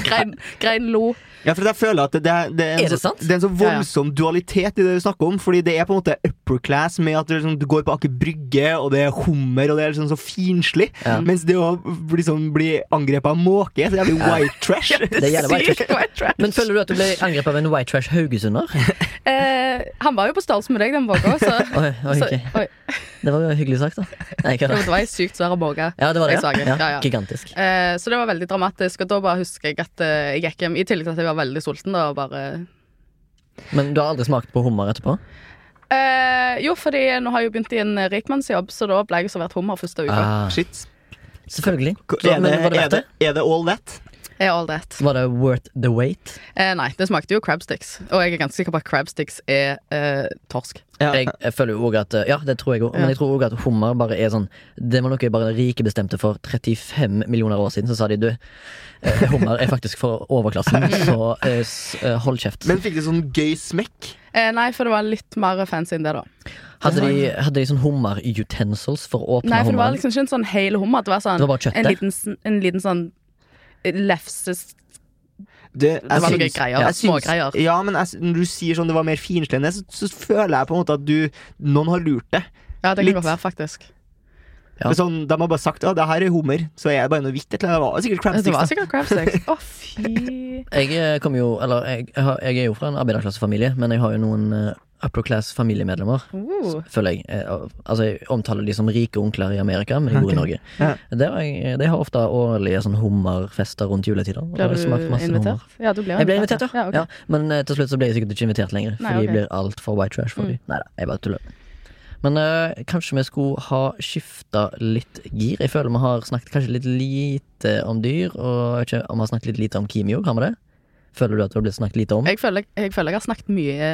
Grein, grein lo. Ja, for jeg føler at det, det, det, er, en Er det så, sant? det er en så Ja, ja. voldsom dualitet i det du snakker om. Fordi det er på en måte upper class med at du, liksom, du går på Aker Brygge, og det er hummer, og det er liksom så finslig. Ja. Mens det å liksom, bli angrepet av måke, så jævlig white trash. Det gjelder white Sykt white trash. Men føler du at du ble angrepet av en white trash haugesunder? Eh, han var jo på størrelse med deg, den våga. Så, Oi, oi, så ok. oi, Det var jo hyggelig sagt, da. Nei, hva jo, da? det var ei sykt svær våge. Ja, det var det. Jeg sa ikke. ja. Ja, ja. Gigantisk. Eh, så det var veldig dramatisk, og da bare husker jeg at eh, jeg gikk hjem, i tillegg til at jeg var veldig sulten, da, og bare Men du har aldri smakt på hummer etterpå? Eh, jo, fordi nå har jeg jo begynt i en eh, rikmannsjobb, så da ble jeg servert hummer første uka. Ah, Shit. selvfølgelig. Hva- Så, Er det, men var det er, verdt det, det? er det all that? Er all that. Var det worth the wait? Eh, nei, det smakte jo crabsticks, og jeg er ganske sikker på at crabsticks er eh, torsk. Ja. Jeg, jeg føler jo også at Ja, det tror jeg òg. Ja. Men jeg tror også at hummer bare er sånn Det var noe bare de rike bestemte for 35 millioner år siden. Så sa de du, eh, hummer er faktisk for overklassen, så eh, s- eh, hold kjeft. Men fikk det sånn gøy smekk? Eh, nei, for det var litt mer fancy enn det, da. Hadde de, hadde de sånn hummerutensils for å åpne Nei, for det var hummeren? liksom ikke en sånn hel hummer. Det var sånn Det var bare kjøttet? en liten, sn- en liten sånn lefses Det, Det var noen syns- greier, jeg syns- smågreier. Ja, men jeg, syns- når du sier sånn det var mer finslende, så, så føler jeg på en måte at du Noen har lurt det. Ja, det kan Litt. godt være, faktisk. Ja. Men Sånn, de har bare sagt at det her er hummer, så er det bare noe hvitt. et eller annet. Det var sikkert Det var crabsticks. da. sikkert crabsticks. Å, fy. Jeg eh, kommer jo Eller jeg, jeg, har- jeg er jo fra en arbeiderklassefamilie, men jeg har jo noen eh, upper class familiemedlemmer. Uh. Føler jeg. Eh, og- Altså, jeg omtaler de som rike onkler i Amerika, men de bor i Norge. Ja. Det har jeg, de har ofte årlige sånn hummerfester rundt juletider. og da har Blir jeg du smakt masse hummer. invitert? Ja, du blir Jeg ble invitert, ja. ja. ok. ja. Men eh, til slutt så ble jeg sikkert ikke invitert lenger, for Nei, ok. Mm. de blir altfor white trash for de. Neida, jeg bare tuller. Men eh, kanskje vi skulle ha skifta litt gir. Jeg føler vi har snakket kanskje litt lite om dyr, og ikke om vi har snakket litt lite om Kimi òg, har vi det? Føler du at det har blitt snakket lite om? Jeg, føler, jeg føler jeg har snakket mye,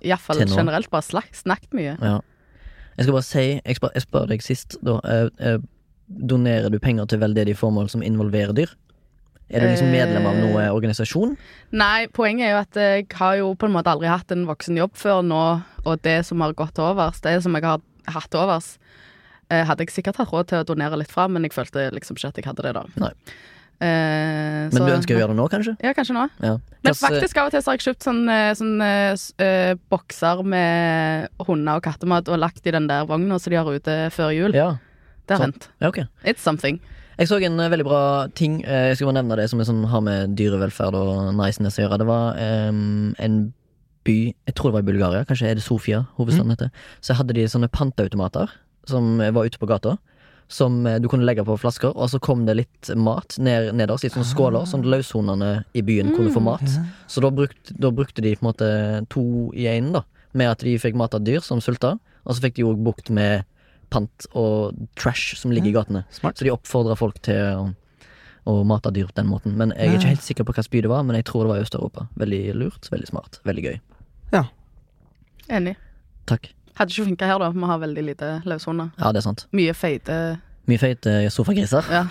iallfall Til nå. generelt, bare snak, snakket mye. Ja. Jeg skal bare si Jeg, spør, jeg spør deg sist, da. eh, eh, donerer du penger til veldedige formål som involverer dyr? Er du liksom medlem av noe Eh. organisasjon? Nei, poenget er jo at jeg har jo på en måte aldri hatt en voksen jobb før nå, og det som har gått overs, det som jeg har hatt overs, eh, hadde jeg sikkert hatt råd til å donere litt fra, men jeg følte liksom ikke at jeg hadde det da. Nei. Eh, Men du ønsker å gjøre det nå, kanskje? Ja, kanskje nå. Ja. Men Hvilke- faktisk av og til så har jeg kjøpt sånn, eh, sånn eh, s- eh, bokser med hunder og kattemat og lagt i den der vogna som de har ute før jul. Ja, det har sånn. hendt. ja ok. It's something. Jeg så en eh, veldig bra ting eh, Jeg skal bare nevne det som er sånn, har med dyrevelferd og niceness å gjøre. Det var eh, en by Jeg tror det var i Bulgaria, kanskje er det Sofia hovedstaden heter. Så hadde de sånne panteautomater som eh, var ute på gata. Som eh, du kunne legge på flasker, og så kom det litt mat ned, nederst i sånne skåler som løshundene i byen kunne få Mm. mat. Så da brukte, da brukte de på en måte to i én, da. Med at de fikk mat av dyr som sulta, og så fikk de òg bukt med pant og trash som ligger i gatene. Smart. Så de oppfordra folk til å, å mate dyr på den måten. Men jeg er ikke helt sikker på hvilken by det var, men jeg tror det var i Øst-Europa. Veldig lurt, veldig smart, veldig gøy. Enig. Takk. Hadde ikke funka her, da. Vi har veldig lite løshunder. Ja, det er sant. Mye feite Mye feite sofagriser. Ja.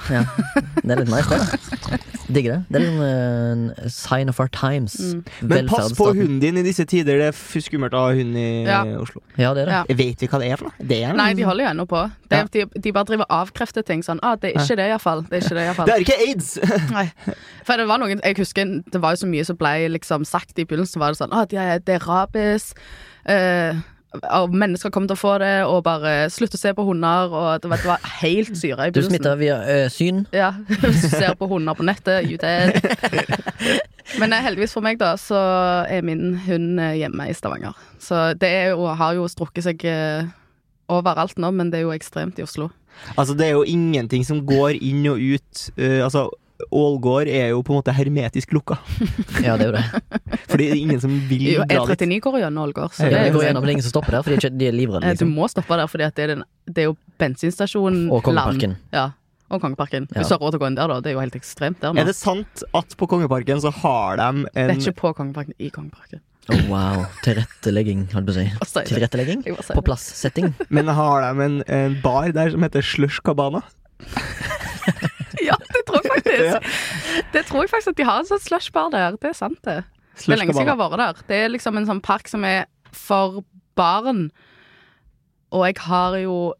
Det er litt nice, det. Digger det. Det er liksom en sign of our times. Mm. Men pass på Velferdsstaten. hunden din i disse tider. Det er f- skummelt å ha hund i Ja. Oslo. Ja, det er det. Ja. Vet vi hva det er for noe? Det er Nei, de Mm. holder jo ennå på. De, Ja. de, de bare driver og avkrefter ting sånn. Ah, det er ikke det, iallfall. Det er ikke det, i hvert fall. det er ikke aids! Nei. For det var noen Jeg husker det var jo så mye som ble liksom sagt i begynnelsen. Var det sånn at det, det er rabies. eh, og mennesker kommer til å få det, og bare slutt å se på hunder. Og det var, det var helt syre i Du begynnelsen. smitter via ø, syn. Ja, hvis du ser på hunder på nettet, you dead. Men eh, heldigvis for meg, da, så er min hund eh, hjemme i Stavanger. Så det er jo, har jo strukket seg eh, overalt nå, men det er jo ekstremt i Oslo. Altså, det er jo ingenting som går inn og ut. eh, altså, Ålgård er jo på en måte hermetisk lukka. Ja, det er jo det. Fordi det er ingen som vil Jo, dra dit. E39 går gjennom Ålgård, så Ja, det det er går jo gjennom, men det er ingen som stopper der, for de er, ikke- de er livredde. Eh, Du Liksom. må stoppe der, for det, er den- det er jo bensinstasjonen Og Kongeparken. Land. Ja, og Kongeparken. Ja. Hvis du har råd til å gå inn der, da. Det er jo helt ekstremt der nå. Er det sant at på Kongeparken så har de Det er en ikke på Kongeparken, i Kongeparken. Oh, wow. Tilrettelegging, holdt på å si. Hva sier du? Tilrettelegging? Jeg bare sier På det. plass-setting. Men har de en, en bar der som heter Slush Cabana? Ja, det tror jeg Ja. faktisk. Det tror jeg faktisk at de har en sånn slushbar der. Det er sant, det. Det er Slush lenge siden jeg Cabana. har vært der. Det er liksom en sånn park som er for barn. Og jeg har jo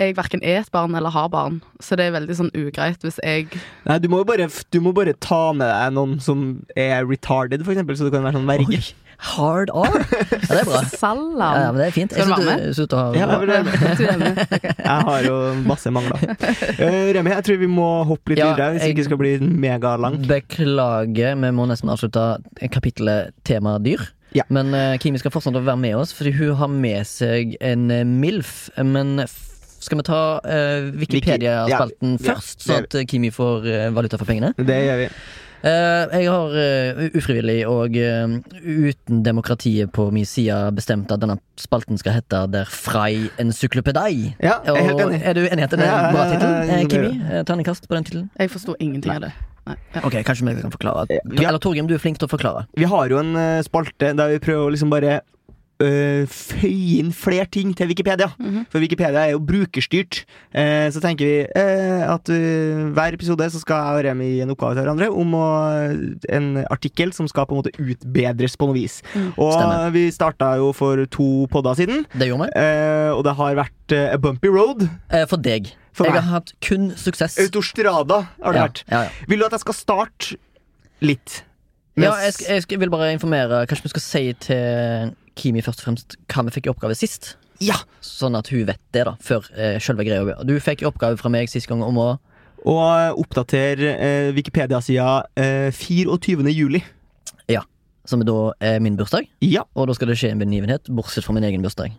Jeg verken er et barn eller har barn, så det er veldig sånn ugreit hvis jeg Nei, du må, jo bare, du må bare ta med deg noen som er retarded, for eksempel, så du kan være sånn verge. Oi, hard R! Ja, det er bra. Ja, ja, men Salam. det er fint. Jeg Skal du synes være du- synes du har Ja, jeg, vil- Du er med. jeg har jo masse mangler. Eh, Remi, jeg tror vi må hoppe litt Ja, videre hvis jeg- ikke det skal bli megalang. Beklager, vi må nesten avslutte kapittelet tema dyr. Ja. Men eh, Kimi skal fortsatt være med oss, fordi hun har med seg en eh, MILF. Men eh, f skal vi ta eh, Wikipedia-spalten Wiki- ja, først, ja, sånn at eh, Kimi får eh, valuta for pengene? Det gjør vi. Eh, jeg har eh, u- ufrivillig og eh, uten demokratiet på min side bestemt at denne spalten skal hete Der Frei encyklopedei. Ja, jeg er helt Og enig. Er du enig i at det er Ja, ja, en bra ja, tittel? ja, Eh, ja, Kimi, eh, terningkast på den tittelen? Jeg forsto ingenting av det. Nei. Ja. Ok, kanskje vi kan forklare. vi har- Eller Torgrim, du er flink til å forklare. Vi har jo en eh, spalte der vi prøver å liksom bare øh, føye inn flere ting til Wikipedia. Mhm. For Wikipedia er jo brukerstyrt. Eh, så tenker vi eh, at øh, hver episode så skal jeg og Remi gi en oppgave til hverandre om å, eh, en artikkel som skal på en måte utbedres på noe vis. Og Mm. Stemmer. vi starta jo for to podder siden, Det gjorde vi. eh, og det har vært eh, a bumpy road. Eh, For deg. For jeg meg. har hatt kun suksess. Autostrada har det ja, vært. ja, ja. Vil du at jeg skal starte litt? ja, Med jeg, sk- jeg sk- vil bare informere. Kanskje vi skal si til Kimi først og fremst hva vi fikk i oppgave sist? Ja. Sånn at hun vet det, da, før eh, selve greia. Du fikk i oppgave fra meg sist gang om å Og oppdater eh, Wikipedia-sida eh, 24. juli. Som da er min bursdag, Ja. og da skal det skje en begivenhet, bortsett fra min egen bursdag.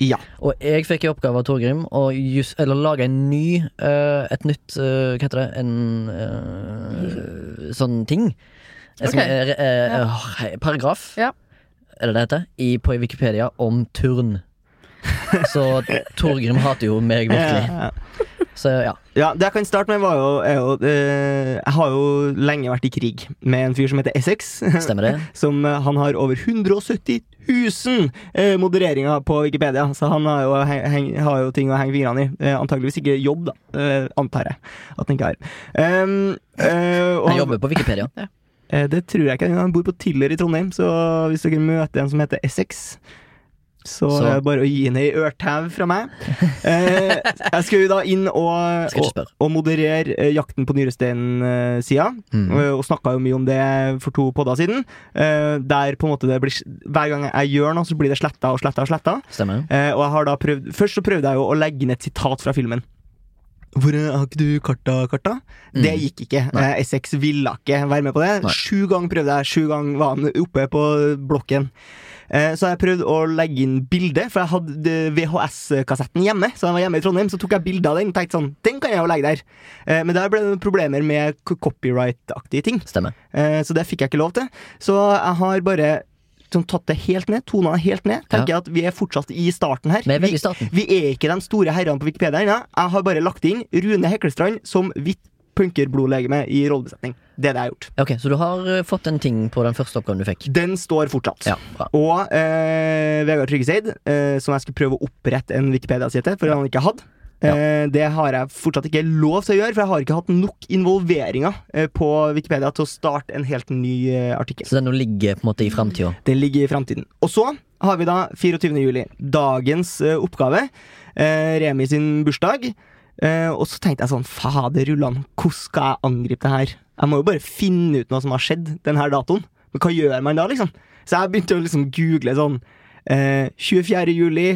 Ja. Og jeg fikk i oppgave av Torgrim å jus- eller lage en ny eh, Et nytt eh, Hva heter det? En eh, sånn ting. Eh, Som Ok. er, eh, Ja. åh, hei, paragraf, Ja. er det det heter, i, på Wikipedia om turn. Så Torgrim hater jo meg virkelig. Eh, Så ja. ja, det jeg kan starte med, var jo, er jo eh, Jeg har jo lenge vært i krig med en fyr som heter Essex. Stemmer det? Som eh, Han har over 170 000 eh, modereringer på Wikipedia, så han har jo, heng, heng, har jo ting å henge fingrene i. Eh, antageligvis ikke jobb, da. Eh, antar jeg at han ikke har. Ehm, eh, og Han han- jobber på Wikipedia. Eh, Det tror jeg ikke engang. Han bor på Tiller i Trondheim, så hvis dere møter en som heter Essex så, Så. er det bare å gi henne ei ørtau fra meg. Eh, jeg skal jo da inn og, Skal ikke og, spørre. og moderere eh, Jakten på nyrestein-sida. Eh, Mm. Og snakka jo mye om det for to podder siden. Eh, der på en måte det blir, Hver gang jeg gjør noe, så blir det sletta og sletta og sletta. Stemmer. Eh, og jeg har da prøvd Først så prøvde jeg jo å legge inn et sitat fra filmen. Hvor eh, Har ikke du karta, karta? Det Mm. gikk ikke. Nei. Eh, Essex ville ikke være med på det. Nei. Sju ganger prøvde jeg, sju ganger var han oppe på blokken. Eh, Så jeg prøvde å legge inn bilde, for jeg hadde det- VHS-kassetten hjemme. Så jeg var hjemme i Trondheim, så tok jeg bilde av den og tenkte sånn Den kan jeg jo legge der. Eh, Men der ble det noen problemer med k- copyright-aktige ting. Stemmer. Eh, Så det fikk jeg ikke lov til. Så jeg har bare sånn, tatt det helt ned. Tona det helt ned. Tenker jeg at vi er fortsatt i starten her. Vi er Vi, veldig i starten. vi er ikke de store herrene på Wikipedia ennå. Jeg har bare lagt inn Rune Heklestrand som hvitt punkerblodlegeme i rollebesetning. Det er det jeg har gjort. Ok, Så du har eh, fått en ting på den første oppgaven du fikk? Den står fortsatt. Ja, bra. Og eh, Vegard Tryggeseid, eh, som jeg skulle prøve å opprette en Wikipedia-side til, for han ikke hadde. Ja. Eh, det har jeg fortsatt ikke lov til å gjøre, for jeg har ikke hatt nok involveringer eh, på Wikipedia til å starte en helt ny eh, artikkel. Så den nå ligger på en måte i framtida? Det ligger i framtiden. Og så har vi da 24. juli. Dagens eh, oppgave. eh, Remi sin bursdag. Eh, og så tenkte jeg sånn, fader rullan, hvordan skal jeg angripe det her? Jeg må jo bare finne ut noe som har skjedd denne datoen. Men hva gjør man da, liksom? Så jeg begynte å liksom google sånn eh, 24. juli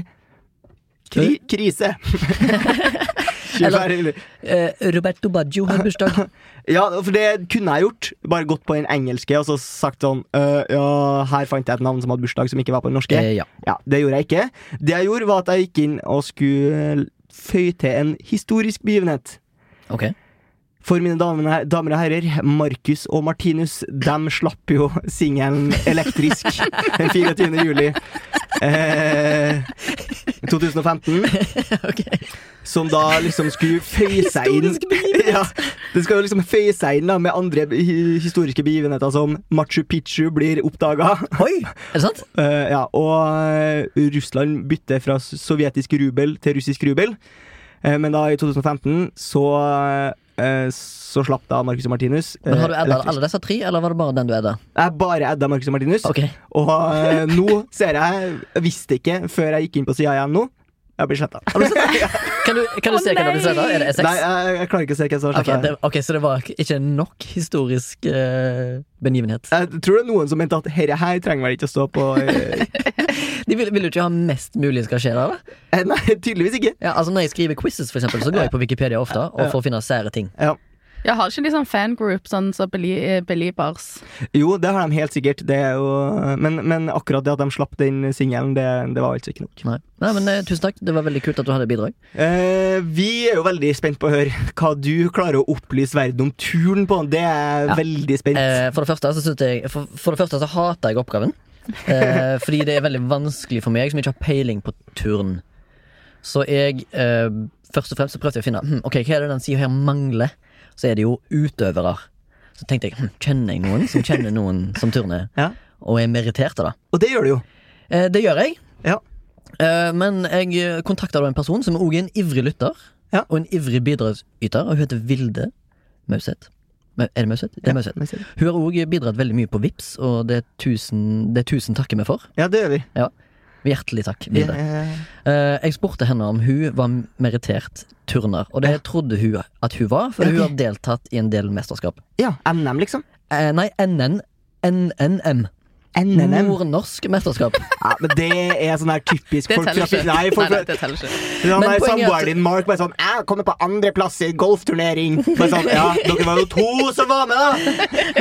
kri krise. 24. Eller- juli. Eh, Roberto Baggio har bursdag. Ja, for det kunne jeg gjort. Bare gått på den engelske og så sagt sånn eh, Ja, her fant jeg et navn som hadde bursdag, som ikke var på den norske. Eh, ja. Ja, Det gjorde jeg ikke. Det jeg gjorde, var at jeg gikk inn og skulle føye til en historisk begivenhet. Ok. For mine damene, damer og herrer, Markus og Martinus, dem slapp jo singelen Elektrisk den 24. juli eh, 2015. Som da liksom skulle føye seg inn ja, Det skal jo liksom føye seg inn da, med andre hi- historiske begivenheter, som Machu Picchu blir oppdaga. Oi! Er det sant? Eh, ja, og eh, Russland bytter fra s- sovjetisk rubel til russisk rubel. Eh, men da, i 2015, så eh, Så slapp da Marcus og Martinus. eh, Men Har du edda elektrisk- alle disse tre, eller var det bare den du edda? Jeg bare edda Marcus og Martinus. Ok. Og eh, nå ser jeg Jeg visste ikke før jeg gikk inn på sida igjen nå. Jeg blir sletta. Kan du, kan du se Å, hva du nei! sletter? Er det E6? Nei, jeg, jeg klarer ikke å se hvem som har Ok, sletta. det, ok, Så det var ikke- ikke nok historisk eh, begivenhet. Jeg tror det er noen som mente at herre her trenger vel ikke å stå på eh, De vil, vil jo ikke ha mest mulig skal skje der, da? eh, Nei, tydeligvis ikke. Ja, altså Når jeg skriver quizzes, for eksempel, så går jeg på Wikipedia ofte og får finne sære ting. Ja. Jeg har ikke liksom fangroup sånn som Belie- eh, Beliebers. Jo, det har de helt sikkert. Det er jo, men, men akkurat det at de slapp den singelen, det, det var altså ikke nok. Nei. Nei, men eh, Tusen takk, det var veldig kult at du hadde bidrag. Eh, vi er jo veldig spent på å høre hva du klarer å opplyse verden om turen på. Det er Ja. veldig spent. Eh, for, det første, så synes jeg, for, for det første så hater jeg oppgaven. Eh, fordi det er veldig vanskelig for meg som ikke har peiling på turn. Så jeg eh, Først og fremst så prøvde jeg å finne hm, Ok, hva er det den sida her mangler. Så er det jo utøvere. Så tenkte jeg hm, kjenner jeg noen som kjenner noen som turner, Ja. og er meritterte, da. Og det gjør du jo. Eh, det gjør jeg. Ja. Eh, men jeg kontakta en person som òg er en ivrig lytter. Ja. Og en ivrig bidragsyter. Og hun heter Vilde Mauseth. Men Er det Mauseth? Det er Mauseth. men ser du. Hun har òg bidratt veldig mye på Vips og det er tusen, det er tusen takker vi for. Ja, det gjør vi. Hjertelig takk, Vilde. Eh, jeg spurte henne om hun var merittert turner, og det trodde hun at hun var, for hun har deltatt i en del mesterskap. Ja, NM, liksom. Eh, nei, NN. NNM. NNM. Nordnorsk mesterskap. Ja, men det er sånn her typisk Det folk teller fra Fyn- ikke. Nei, Nei, folk nei, fra det teller ikke. Ja, Men poenget er nei, at- samboeren din Mark bare sånn 'Jeg kommer på andreplass i golfturnering'. Bare sånn, ja, Dere var jo to som var med, da!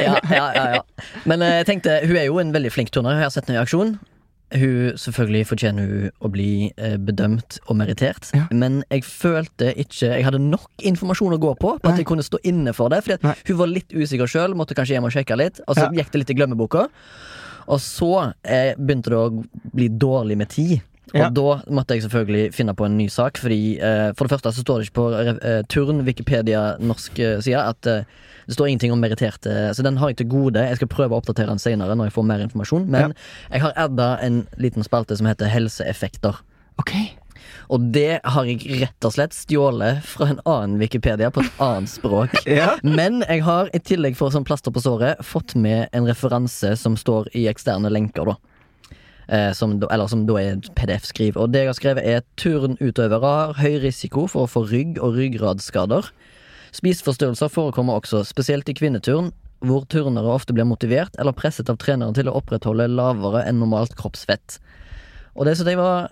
ja, ja, ja, ja. Men eh, jeg tenkte, hun er jo en veldig flink turner. Jeg har sett henne i aksjon. Hun, selvfølgelig fortjener hun å bli eh, bedømt og merittert, Ja. men jeg følte ikke Jeg hadde nok informasjon å gå på på at Nei. jeg kunne stå inne for det. Fordi Nei. at hun var litt usikker sjøl, måtte kanskje hjem og sjekke litt. Og så Ja. gikk det litt i glemmeboka. Og så eh, begynte det å bli dårlig med tid. Og Ja. da måtte jeg selvfølgelig finne på en ny sak. Fordi eh, For det første så står det ikke på eh, Turn, Wikipedia, norsk eh, side at eh, det står ingenting om meritterte. Så den har jeg til gode. Jeg skal prøve å oppdatere den senere når jeg får mer informasjon. Men jeg har adda en liten spalte som heter Helseeffekter. Ok Og det har jeg rett og slett stjålet fra en annen Wikipedia på et annet språk. Ja. Men jeg har i tillegg for sånn plaster på såret fått med en referanse som står i eksterne lenker, da. Eh, som, da- eller som da er PDF-skriv. Og det jeg har skrevet, er turnutøvere har høy risiko for å få rygg- og ryggradsskader. Spiseforstyrrelser forekommer også, spesielt i kvinneturn, hvor turnere ofte blir motivert eller presset av treneren til å opprettholde lavere enn normalt kroppsfett. Og det syntes jeg var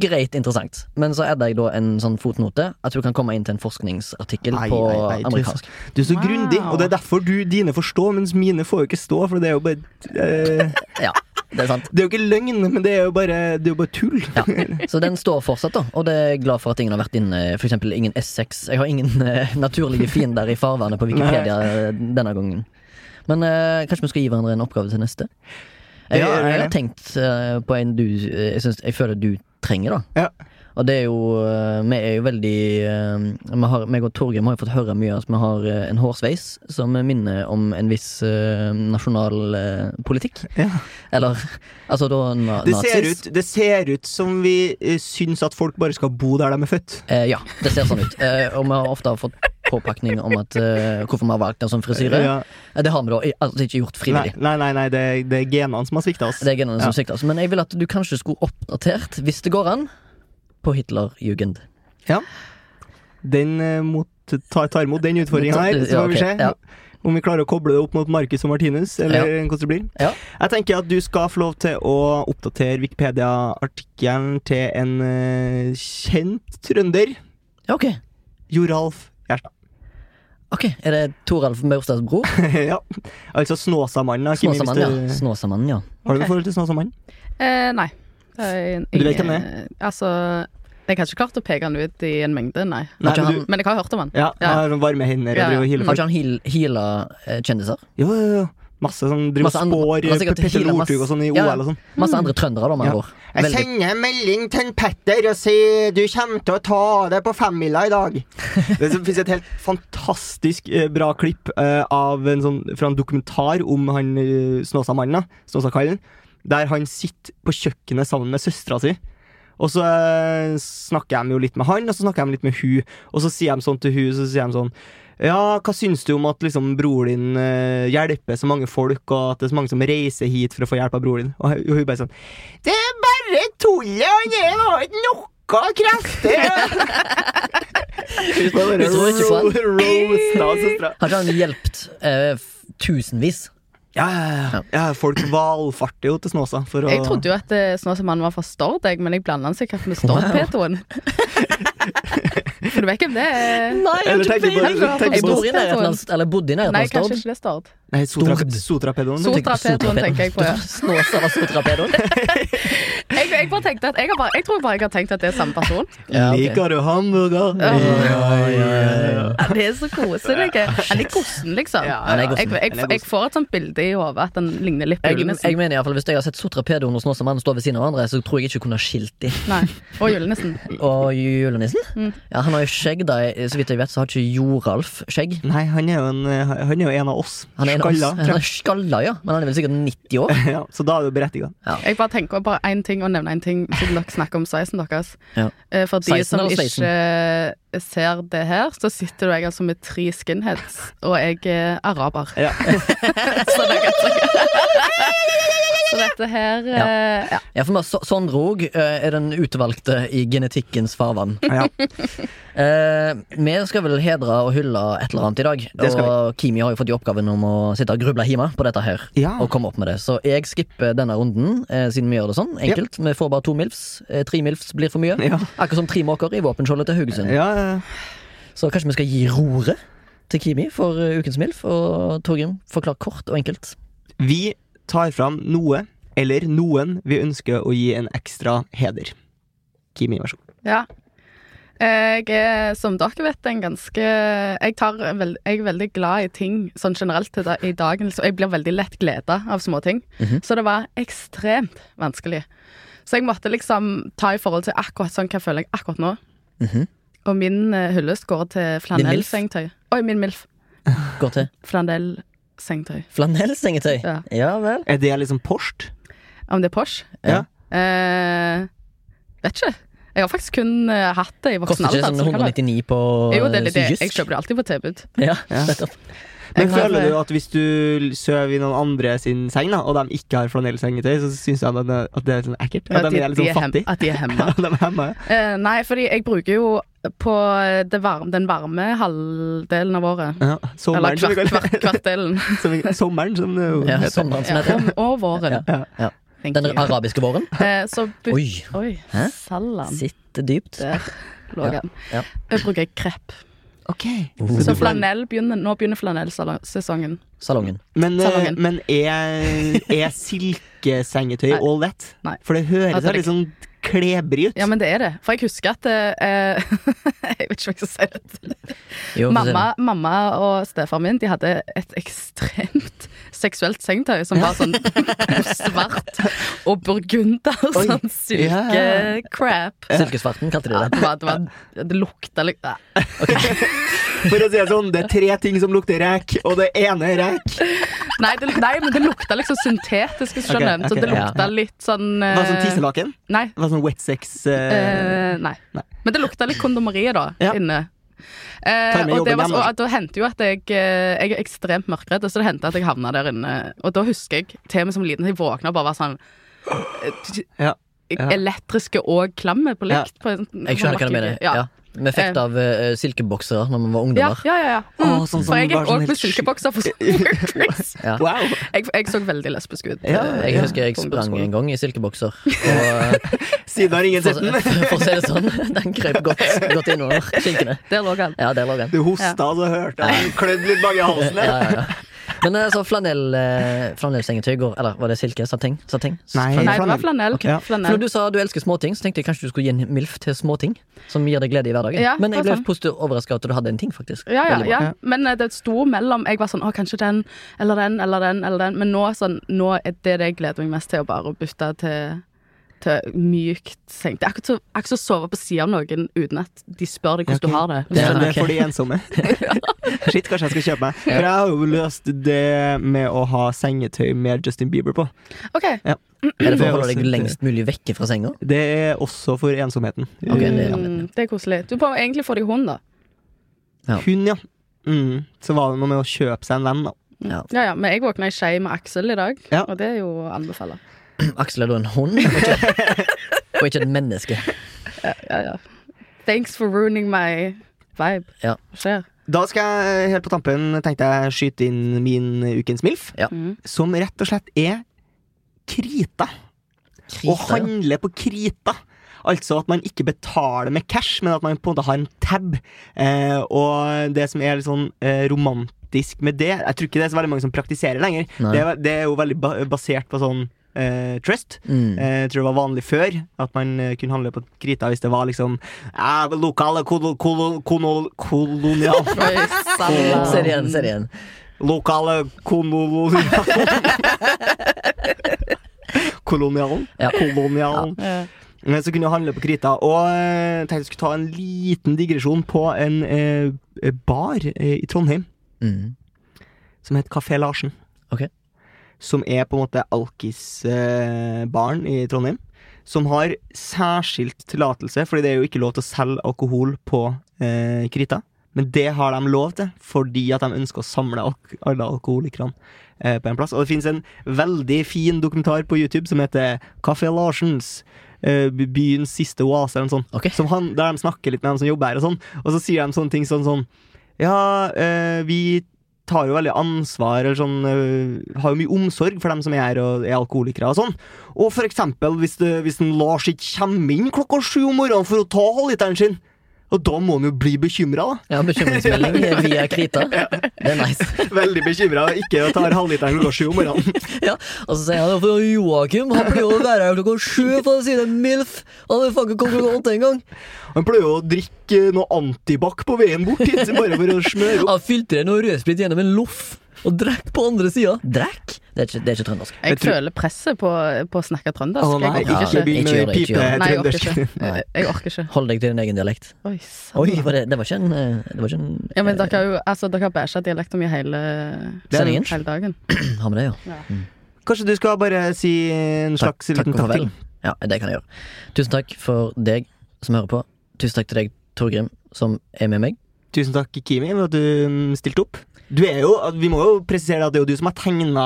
greit interessant. Men så adda jeg da en sånn fotnote at hun kan komme inn til en forskningsartikkel Ai, på ai, ai, tusen- amerikansk. Du er så Wow. grundig, og det er derfor du, dine får stå, mens mine får jo ikke stå. For det er jo bare eh, Ja, det er sant. Det er jo ikke løgn, men det er jo bare, det er jo bare tull. Ja. Så den står fortsatt, da. Og det er jeg glad for at ingen har vært inne. For eksempel ingen S6. Jeg har ingen eh, naturlige fiender i farvannet på Wikipedia eh, denne gangen. Men eh, kanskje vi skal gi hverandre en oppgave til neste? Det Jeg har, gjør vi. jeg har tenkt eh, på en du eh, jeg, synes, jeg føler du trenger, da. Ja. Og det er jo eh, Vi er jo veldig eh, vi har, meg og Torgrim har jo fått høre mye at vi har eh, en hårsveis som minner om en viss eh, nasjonal eh, politikk. Ja. Eller altså da na Det, nazis. ser ut, det ser ut som vi eh, syns at folk bare skal bo der de er født. Eh, ja, det ser sånn ut. Eh, og vi har ofte fått påpakning om at, eh, hvorfor vi har valgt en sånn frisyre. Ja. Eh, Det har vi da i- altså ikke gjort Nei, frivillig. nei, nei, nei det, er- det er genene som har svikta oss. Det er genene som Ja. sikter oss. Men jeg vil at du kanskje skulle oppdatert, hvis det går an, på Hitlerjugend. Den eh, mot, tar, tar imot den utfordringa her, så Ja, får vi ok, se. ja. Om vi klarer å koble det opp mot Marcus og Martinus, eller hvordan det blir. Ja. Jeg tenker at du skal få lov til å oppdatere Wikipedia-artikkelen til en eh, kjent trønder. Ja, ok. Joralf Gjerstad. Ok, Er det Toralf Maurstads bror? ja. Altså Snåsamannen. da, Kimi, hvis Snåsamannen, ja. du- Snåsamannen, ja. Har du Ok. noe forhold til Snåsamannen? Eh, nei. Jeg, Du vet hvem det er? Altså, jeg har ikke klart å peke han ut i en mengde, nei. Nei, Har ikke men du- han- Men jeg har hørt om han. Ja, Ja. han har sånn varme hender og Ja, ja. driver og healer Har folk. ikke han heal, heala eh, kjendiser? Jo, jo, jo. Masse sånn driver Masse og andre- spår han har sikkert Petter healer masse- Northug og sånn i Ja, ja. OL og sånn. Masse andre trøndere, da, med Ja. andre ord. Veldig- sender melding til en Petter og sier du kommer til å ta det på femmila i dag. Det fins et helt fantastisk eh, bra klipp eh, av en sånn, fra en dokumentar om han eh, Snåsamannen, da, Snåsakallen, der han sitter på kjøkkenet sammen med søstera si. Og så eh, snakker de jo litt med han, og så snakker de litt med hun. Og så sier de sånn til hun, så sier de sånn Ja, hva syns du om at liksom bror din eh, hjelper så mange folk, og at det er så mange som reiser hit for å få hjelp av bror din? Og hun- hun bare sånn Det er bare tullet, han er da ikke noe krefter! Hun tror ikke på han. Roasta søstera. Har ikke han hjulpet eh, f- tusenvis Ja, ja, ja. ja folk valfarter jo til Snåsa for å Jeg trodde jo at eh, Snåsamannen var fra Stord, jeg, men jeg blanda han sikkert med Stord-Petroen. For du vet hvem det er? Nei, Eller tenker på- tenker Jeg på- bor i nærheten av Eller bodde i nærheten Nei, av kanskje Stord. ikke det er Stord. Nei, Sotra, Stord. Sotrapedoen. Sot- Sotrapedoen tenker jeg på, ja. Snåsa var sotrapedoen. Jeg, jeg, bare tenkte at jeg, har bare, jeg tror bare jeg har tenkt at det er samme person. Ja, ok. Liker du hamburger? Ja. Ja, ja, ja. Ja, det er så koselig. Han er gossen, liksom. Han er Jeg, gossen. jeg, jeg får et sånt bilde i hodet at han ligner litt på Jeg, jeg julenissen. mener i hvert fall, Hvis jeg har sett sotrapedoen og Snåsamannen stå ved siden av hverandre, så tror jeg ikke jeg kunne ha skilt dem. Nei, og julenissen. Og julenissen? Mm. Ja, han har jo skjegg, da. Jeg- Så vidt jeg vet, så har ikke Joralf skjegg. Nei, han er, jo en, eh, han er jo en av oss. Han er, en av oss. Skalla. han er skalla, ja. Men han er vel sikkert 90 år. Ja, så da er du berettiga. Jeg bare tenker bare én ting og nevner én ting, siden dere snakker om sizen deres. Ja. Eh, For de Sizen som eller ikke eh, ser det her, så sitter jeg altså med tre skinheads, og jeg er araber. Ja. så, det er ganske gøy. så dette her eh, ja. Ja, for meg, Så- Sondre òg er den utvalgte i genetikkens farvann. Ja. Eh, vi skal vel hedre og hylle et eller annet i dag. Det skal og Kimi har jo fått i oppgaven om å sitte og gruble hjemme på dette her. Ja. Og komme opp med det Så jeg skipper denne runden, eh, siden vi gjør det sånn. Enkelt. Vi får bare to milfs. Eh, tre milfs blir for mye. Ja. Akkurat som tre måker i våpenskjoldet til Haugesund. Ja, ja. Så kanskje vi skal gi roret til Kimi for eh, ukens MILF. Og Torgrim, forklar kort og enkelt. Vi tar fram noe, eller noen, vi ønsker å gi en ekstra heder. Kimi, vær så god. Ja. Jeg er, som dere vet, en ganske Jeg, tar vel- jeg er veldig glad i ting sånn generelt til da, i dagen. Så jeg blir veldig lett gleda av småting. Så det var ekstremt vanskelig. Så jeg måtte liksom ta i forhold til akkurat sånn hva føler jeg akkurat nå. Mhm. Og min uh, hyllest går til flanellsengetøy. Oi, min MILF. Går til Flanellsengetøy. flanellsengetøy. Ja. ja vel. Er det liksom Porst? Om det er Porsche? Ja. Eh, vet ikke. Jeg har faktisk kun eh, hatt det i voksen Koster alder. ikke sånn så det kan være- 199 på Jo, det er litt det. Jysk? Jeg kjøper det alltid på tilbud. Ja, Ja. nettopp. Men Jeg har- føler du at hvis du sover i noen andre sin seng, da, og de ikke har flanellsengetøy, så syns jeg at det at det er litt sånn ekkelt? At de er litt sånn hem- fattige? at de er hemma. Ja, de er hjemme. Eh, nei, fordi jeg bruker jo på det varme, den varme halvdelen av året. Ja, Eller sommeren, som vi kvart, kaller kvart, kvartdelen. det. som, vi- sommeren, som det jo Ja, sånn. heter. sommeren som Ja, heter. om, og våren. Ja. Ja. Thank Den you. arabiske våren. Eh, så byt... Oi, Oi, Oi Hæ? salam. sitter dypt. Der lå den. Ja. Jeg bruker krepp. Ok. Oh, Så flanell begynner, nå begynner flanellsesongen. Salongen. Men, eh, Salongen. men er, er silkesengetøy Nei. all that? Nei. For det høres Altså, altså, det- litt sånn klebrig ut. Ja, men det er det. For jeg husker at eh, Jeg vet ikke hva jeg skal si. det. Jo, for å si det. Mamma, mamma og stefaren min De hadde et ekstremt seksuelt sengetøy som var sånn svart og burgunder, Oi. sånn silke-crap. Silkesvarten kalte de Ja, det. det, var, det, var, det lukta litt ja. For å si det sånn, det er tre ting som lukter rek, og det ene er rek. Eh. nei, det, nei, men det lukta liksom syntetisk, hvis du skjønner. Ok, ok, så det ja. lukta litt sånn Det var sånn eh, tisselaken. Nei. Det var sånn wet sex. eh, Eh, nei. Nei. Men det lukta litt kondomeriet, da, Ja. inne. Eh, Ta med og det jobben altså. var, hjem, så- da. og da hendte jo at jeg eh, Jeg er ekstremt mørkredd, så det hendte at jeg havna der inne. Og da husker jeg til meg som liten, jeg våkna og bare var sånn eh, Ja. Ja. Elektriske og klamme på likt. På, Jeg skjønner hva du mener. Ja. Ja. Vi fikk det av eh, silkeboksere når vi var Ja, ungdommer. ja, ja. ja. Å, sånn som for jeg bare gikk sånn òg helt med silkebokser for sånn Chris. Ja. Wow! Jeg, jeg så veldig lesbisk ut. Ja, eh, Jeg husker jeg på sprang ungdomsskolen. en gang i silkebokser. Og eh, Siden har ingen For, sett den. for å si det sånn, den krøp godt, godt innover skinkene. Der lå han. Ja, der lå den. Du hosta, og så hørte jeg klødd litt bak i halsen. Ja, ja, ja. Men eh, så flanell, eh, flanellsengetøy går Eller var det silke? Sateng? Sateng? Nei. Flanell. Nei, det var flanell. Ja. For flanell. når du sa du elsker småting, så tenkte jeg kanskje du skulle gi en MILF til småting. Som gir deg glede i hverdagen. Ja, Men jeg det er ble sant. positivt overraska at du hadde en ting, faktisk. Ja, Veldig ja, bra. ja. Men eh, det sto mellom Jeg var sånn, å, kanskje den, eller den, eller den, eller den. Men nå, sånn, nå er det det jeg gleder meg mest til, å bare bytte til, til mykt seng. Det er akkurat så- akkurat som å sove på siden av noen uten at de spør deg hvordan Ok. du har det. Det Ja, er, ok. det er for de ensomme. Shit, kanskje jeg skal kjøpe meg. For jeg har jo løst det med å ha sengetøy med Justin Bieber på. Ok, Mm. Er det for Det er å holde deg også- lengst mulig vekke fra senga? Det er også for ensomheten. Ok, det er mm, det er koselig. Du må egentlig få deg hund, da. ja. Hun, ja. Mm. Så var det noe med å kjøpe seg en venn, da. Ja, ja, men jeg våkna i skje med Aksel i dag, Ja. og det er jo å anbefale. Aksel er da en hund, og ikke, og ikke et menneske. Ja, ja. Thanks for ruining my vibe. Ja. Hva skjer? Da skal jeg helt på tampen tenkte jeg skyte inn min ukens MILF, Ja. Mm. som rett og slett er krita. Og Krita, ja. handle på krita. Altså at man ikke betaler med cash, men at man på en måte har en tab. Eh, og det som er litt sånn eh, romantisk med det Jeg tror ikke det er så veldig mange som praktiserer lenger. Nei. Det er, ve- det er jo veldig ba basert på sånn eh, trust. Mm. Eh, Jeg tror det var vanlig før at man eh, kunne handle på krita hvis det var liksom eh, lokale kolo- kolo- kono- kolonial... Oi, Se sann. det igjen, se det igjen. Lokale kolonial... Kolonialen. Ja. Kolonialen. Ja. Men Så kunne jeg handle på krita. Og eh, tenkte jeg skulle ta en liten digresjon på en eh, bar eh, i Trondheim Mm. som heter Kafé Larsen. Ok. Som er på en måte alkisbaren i Trondheim. Som har særskilt tillatelse, fordi det er jo ikke lov til å selge alkohol på eh, krita. Men det har de lov til, fordi at de ønsker å samle alk alle alkoholikerne eh, på en plass. Og det finnes en veldig fin dokumentar på YouTube som heter Kafé Larsens. eh, by- Byens siste oase, eller noe sånt. Ok. Som han, der de snakker litt med dem som jobber her, og sånn. Og så sier de sånne ting sånn sånn Ja, eh, vi tar jo veldig ansvar eller sånn, øh, har jo mye omsorg for dem som er her og er alkoholikere og sånn. Og for eksempel hvis, det, hvis en Lars ikke kommer inn klokka sju om morgenen for å ta halvliteren sin, og da må han jo bli bekymra, da. Ja, bekymringsmelding via Krita. Det er nice. Veldig bekymra, ikke tar halvliteren klokka sju om morgenen. Ja, og så sier han for Joakim han pleier å være her klokka sju, for å si det milf. Han vil faen ikke komme klokka åtte engang. Han pleier jo å drikke noe antibac på veien bort hit, bare for å smøre opp. Han filtrerer noe rødsprit gjennom en loff og drekk på andre sida. Drekk? Det er ikke, det er ikke trøndersk. Jeg Jeg tror- føler presset på, på å snakke trøndersk. Å nei, jeg orker Ja, ikke ikke. begynn Ikke gjør med det, ikke gjør Nei, jeg orker pipe-trøndersk. ikke. Nei. Jeg orker ikke. Eh, Hold deg til din egen dialekt. Oi, sann. Oi, var det, det var ikke en eh, Det var ikke en eh, Ja, men dere har jo altså, dere har bæsja dialekter mye hele, Sendingen? hele dagen. Ha med det, ja. Kanskje du skal bare si en Takk, slags takk liten og farvel. taktikk? Ja, det kan jeg gjøre. Tusen takk for deg som hører på. Tusen takk til deg, Torgrim, som er med meg. Tusen takk, Kimi, for at du mm, stilte opp. Du er jo, vi må jo presisere at det er jo du som har tegna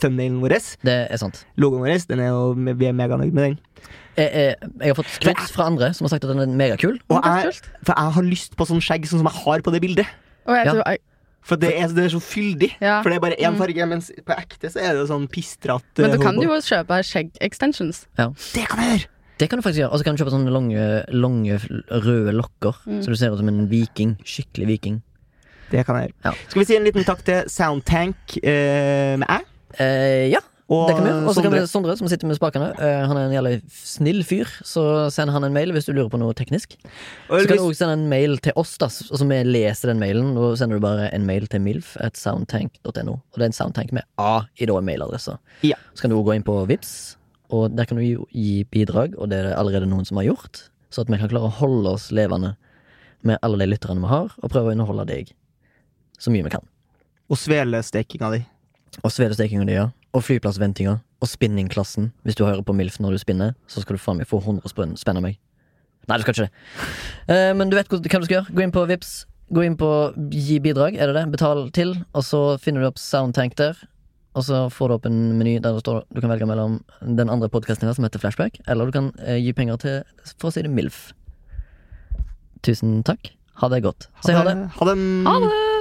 thumbnailen vår. Det er sant. Logoen vår. Den er jo, vi er meganøyd med den. Jeg, jeg, jeg har fått skryt fra andre som har sagt at den er megakul. Og Men det er jeg, kult. for jeg har lyst på sånn skjegg sånn som jeg har på det bildet. Og jeg, Ja. tror- jeg, For det er, det er så fyldig. Ja. For det er bare én farge, mens på ekte så er det jo sånn pistrete men du kan hobo. jo kjøpe skjegg-extensions. Det kan jeg gjøre! Det kan du faktisk gjøre. Og så kan du kjøpe sånne lange, lange røde lokker, Mm. så du ser ut som en viking. Skikkelig viking. Det kan jeg gjøre. Ja. Skal vi si en liten takk til Soundtank eh, med æ? Eh, ja, Og det kan vi gjøre. Og så kan vi Sondre. Sondre, som sitter med spakene. eh, han er en jævlig snill fyr, så send han en mail hvis du lurer på noe teknisk. Og Så kan du hvis- også sende en mail til oss, da, og så vi leser den mailen. Og sender du bare en mail til milf at soundtank.no. Og det er en soundtank med A i da mailadressa. Ja. Så kan du også gå inn på Vips og der kan du jo gi bidrag, og det er det allerede noen som har gjort. Så at vi kan klare å holde oss levende med alle de lytterne vi har, og prøve å underholde deg så mye vi kan. Og svelestekinga di. Og svedestekinga di, ja. Og flyplassventinga. Og spinningklassen. Hvis du hører på MILF når du spinner, så skal du faen meg få 100 spenn spenn av meg. Nei, du skal ikke det. Eh, men du vet hva hva du skal gjøre. Gå inn på Vips Gå inn på gi bidrag, er det det? Betal til. Og så finner du opp Soundtank der. Og så får du opp en meny der det står du kan velge mellom den andre podkasten som heter Flashback, eller du kan eh, gi penger til, for å si det, MILF. Tusen takk. Ha det godt. Si ha det. Ha det. Ha det!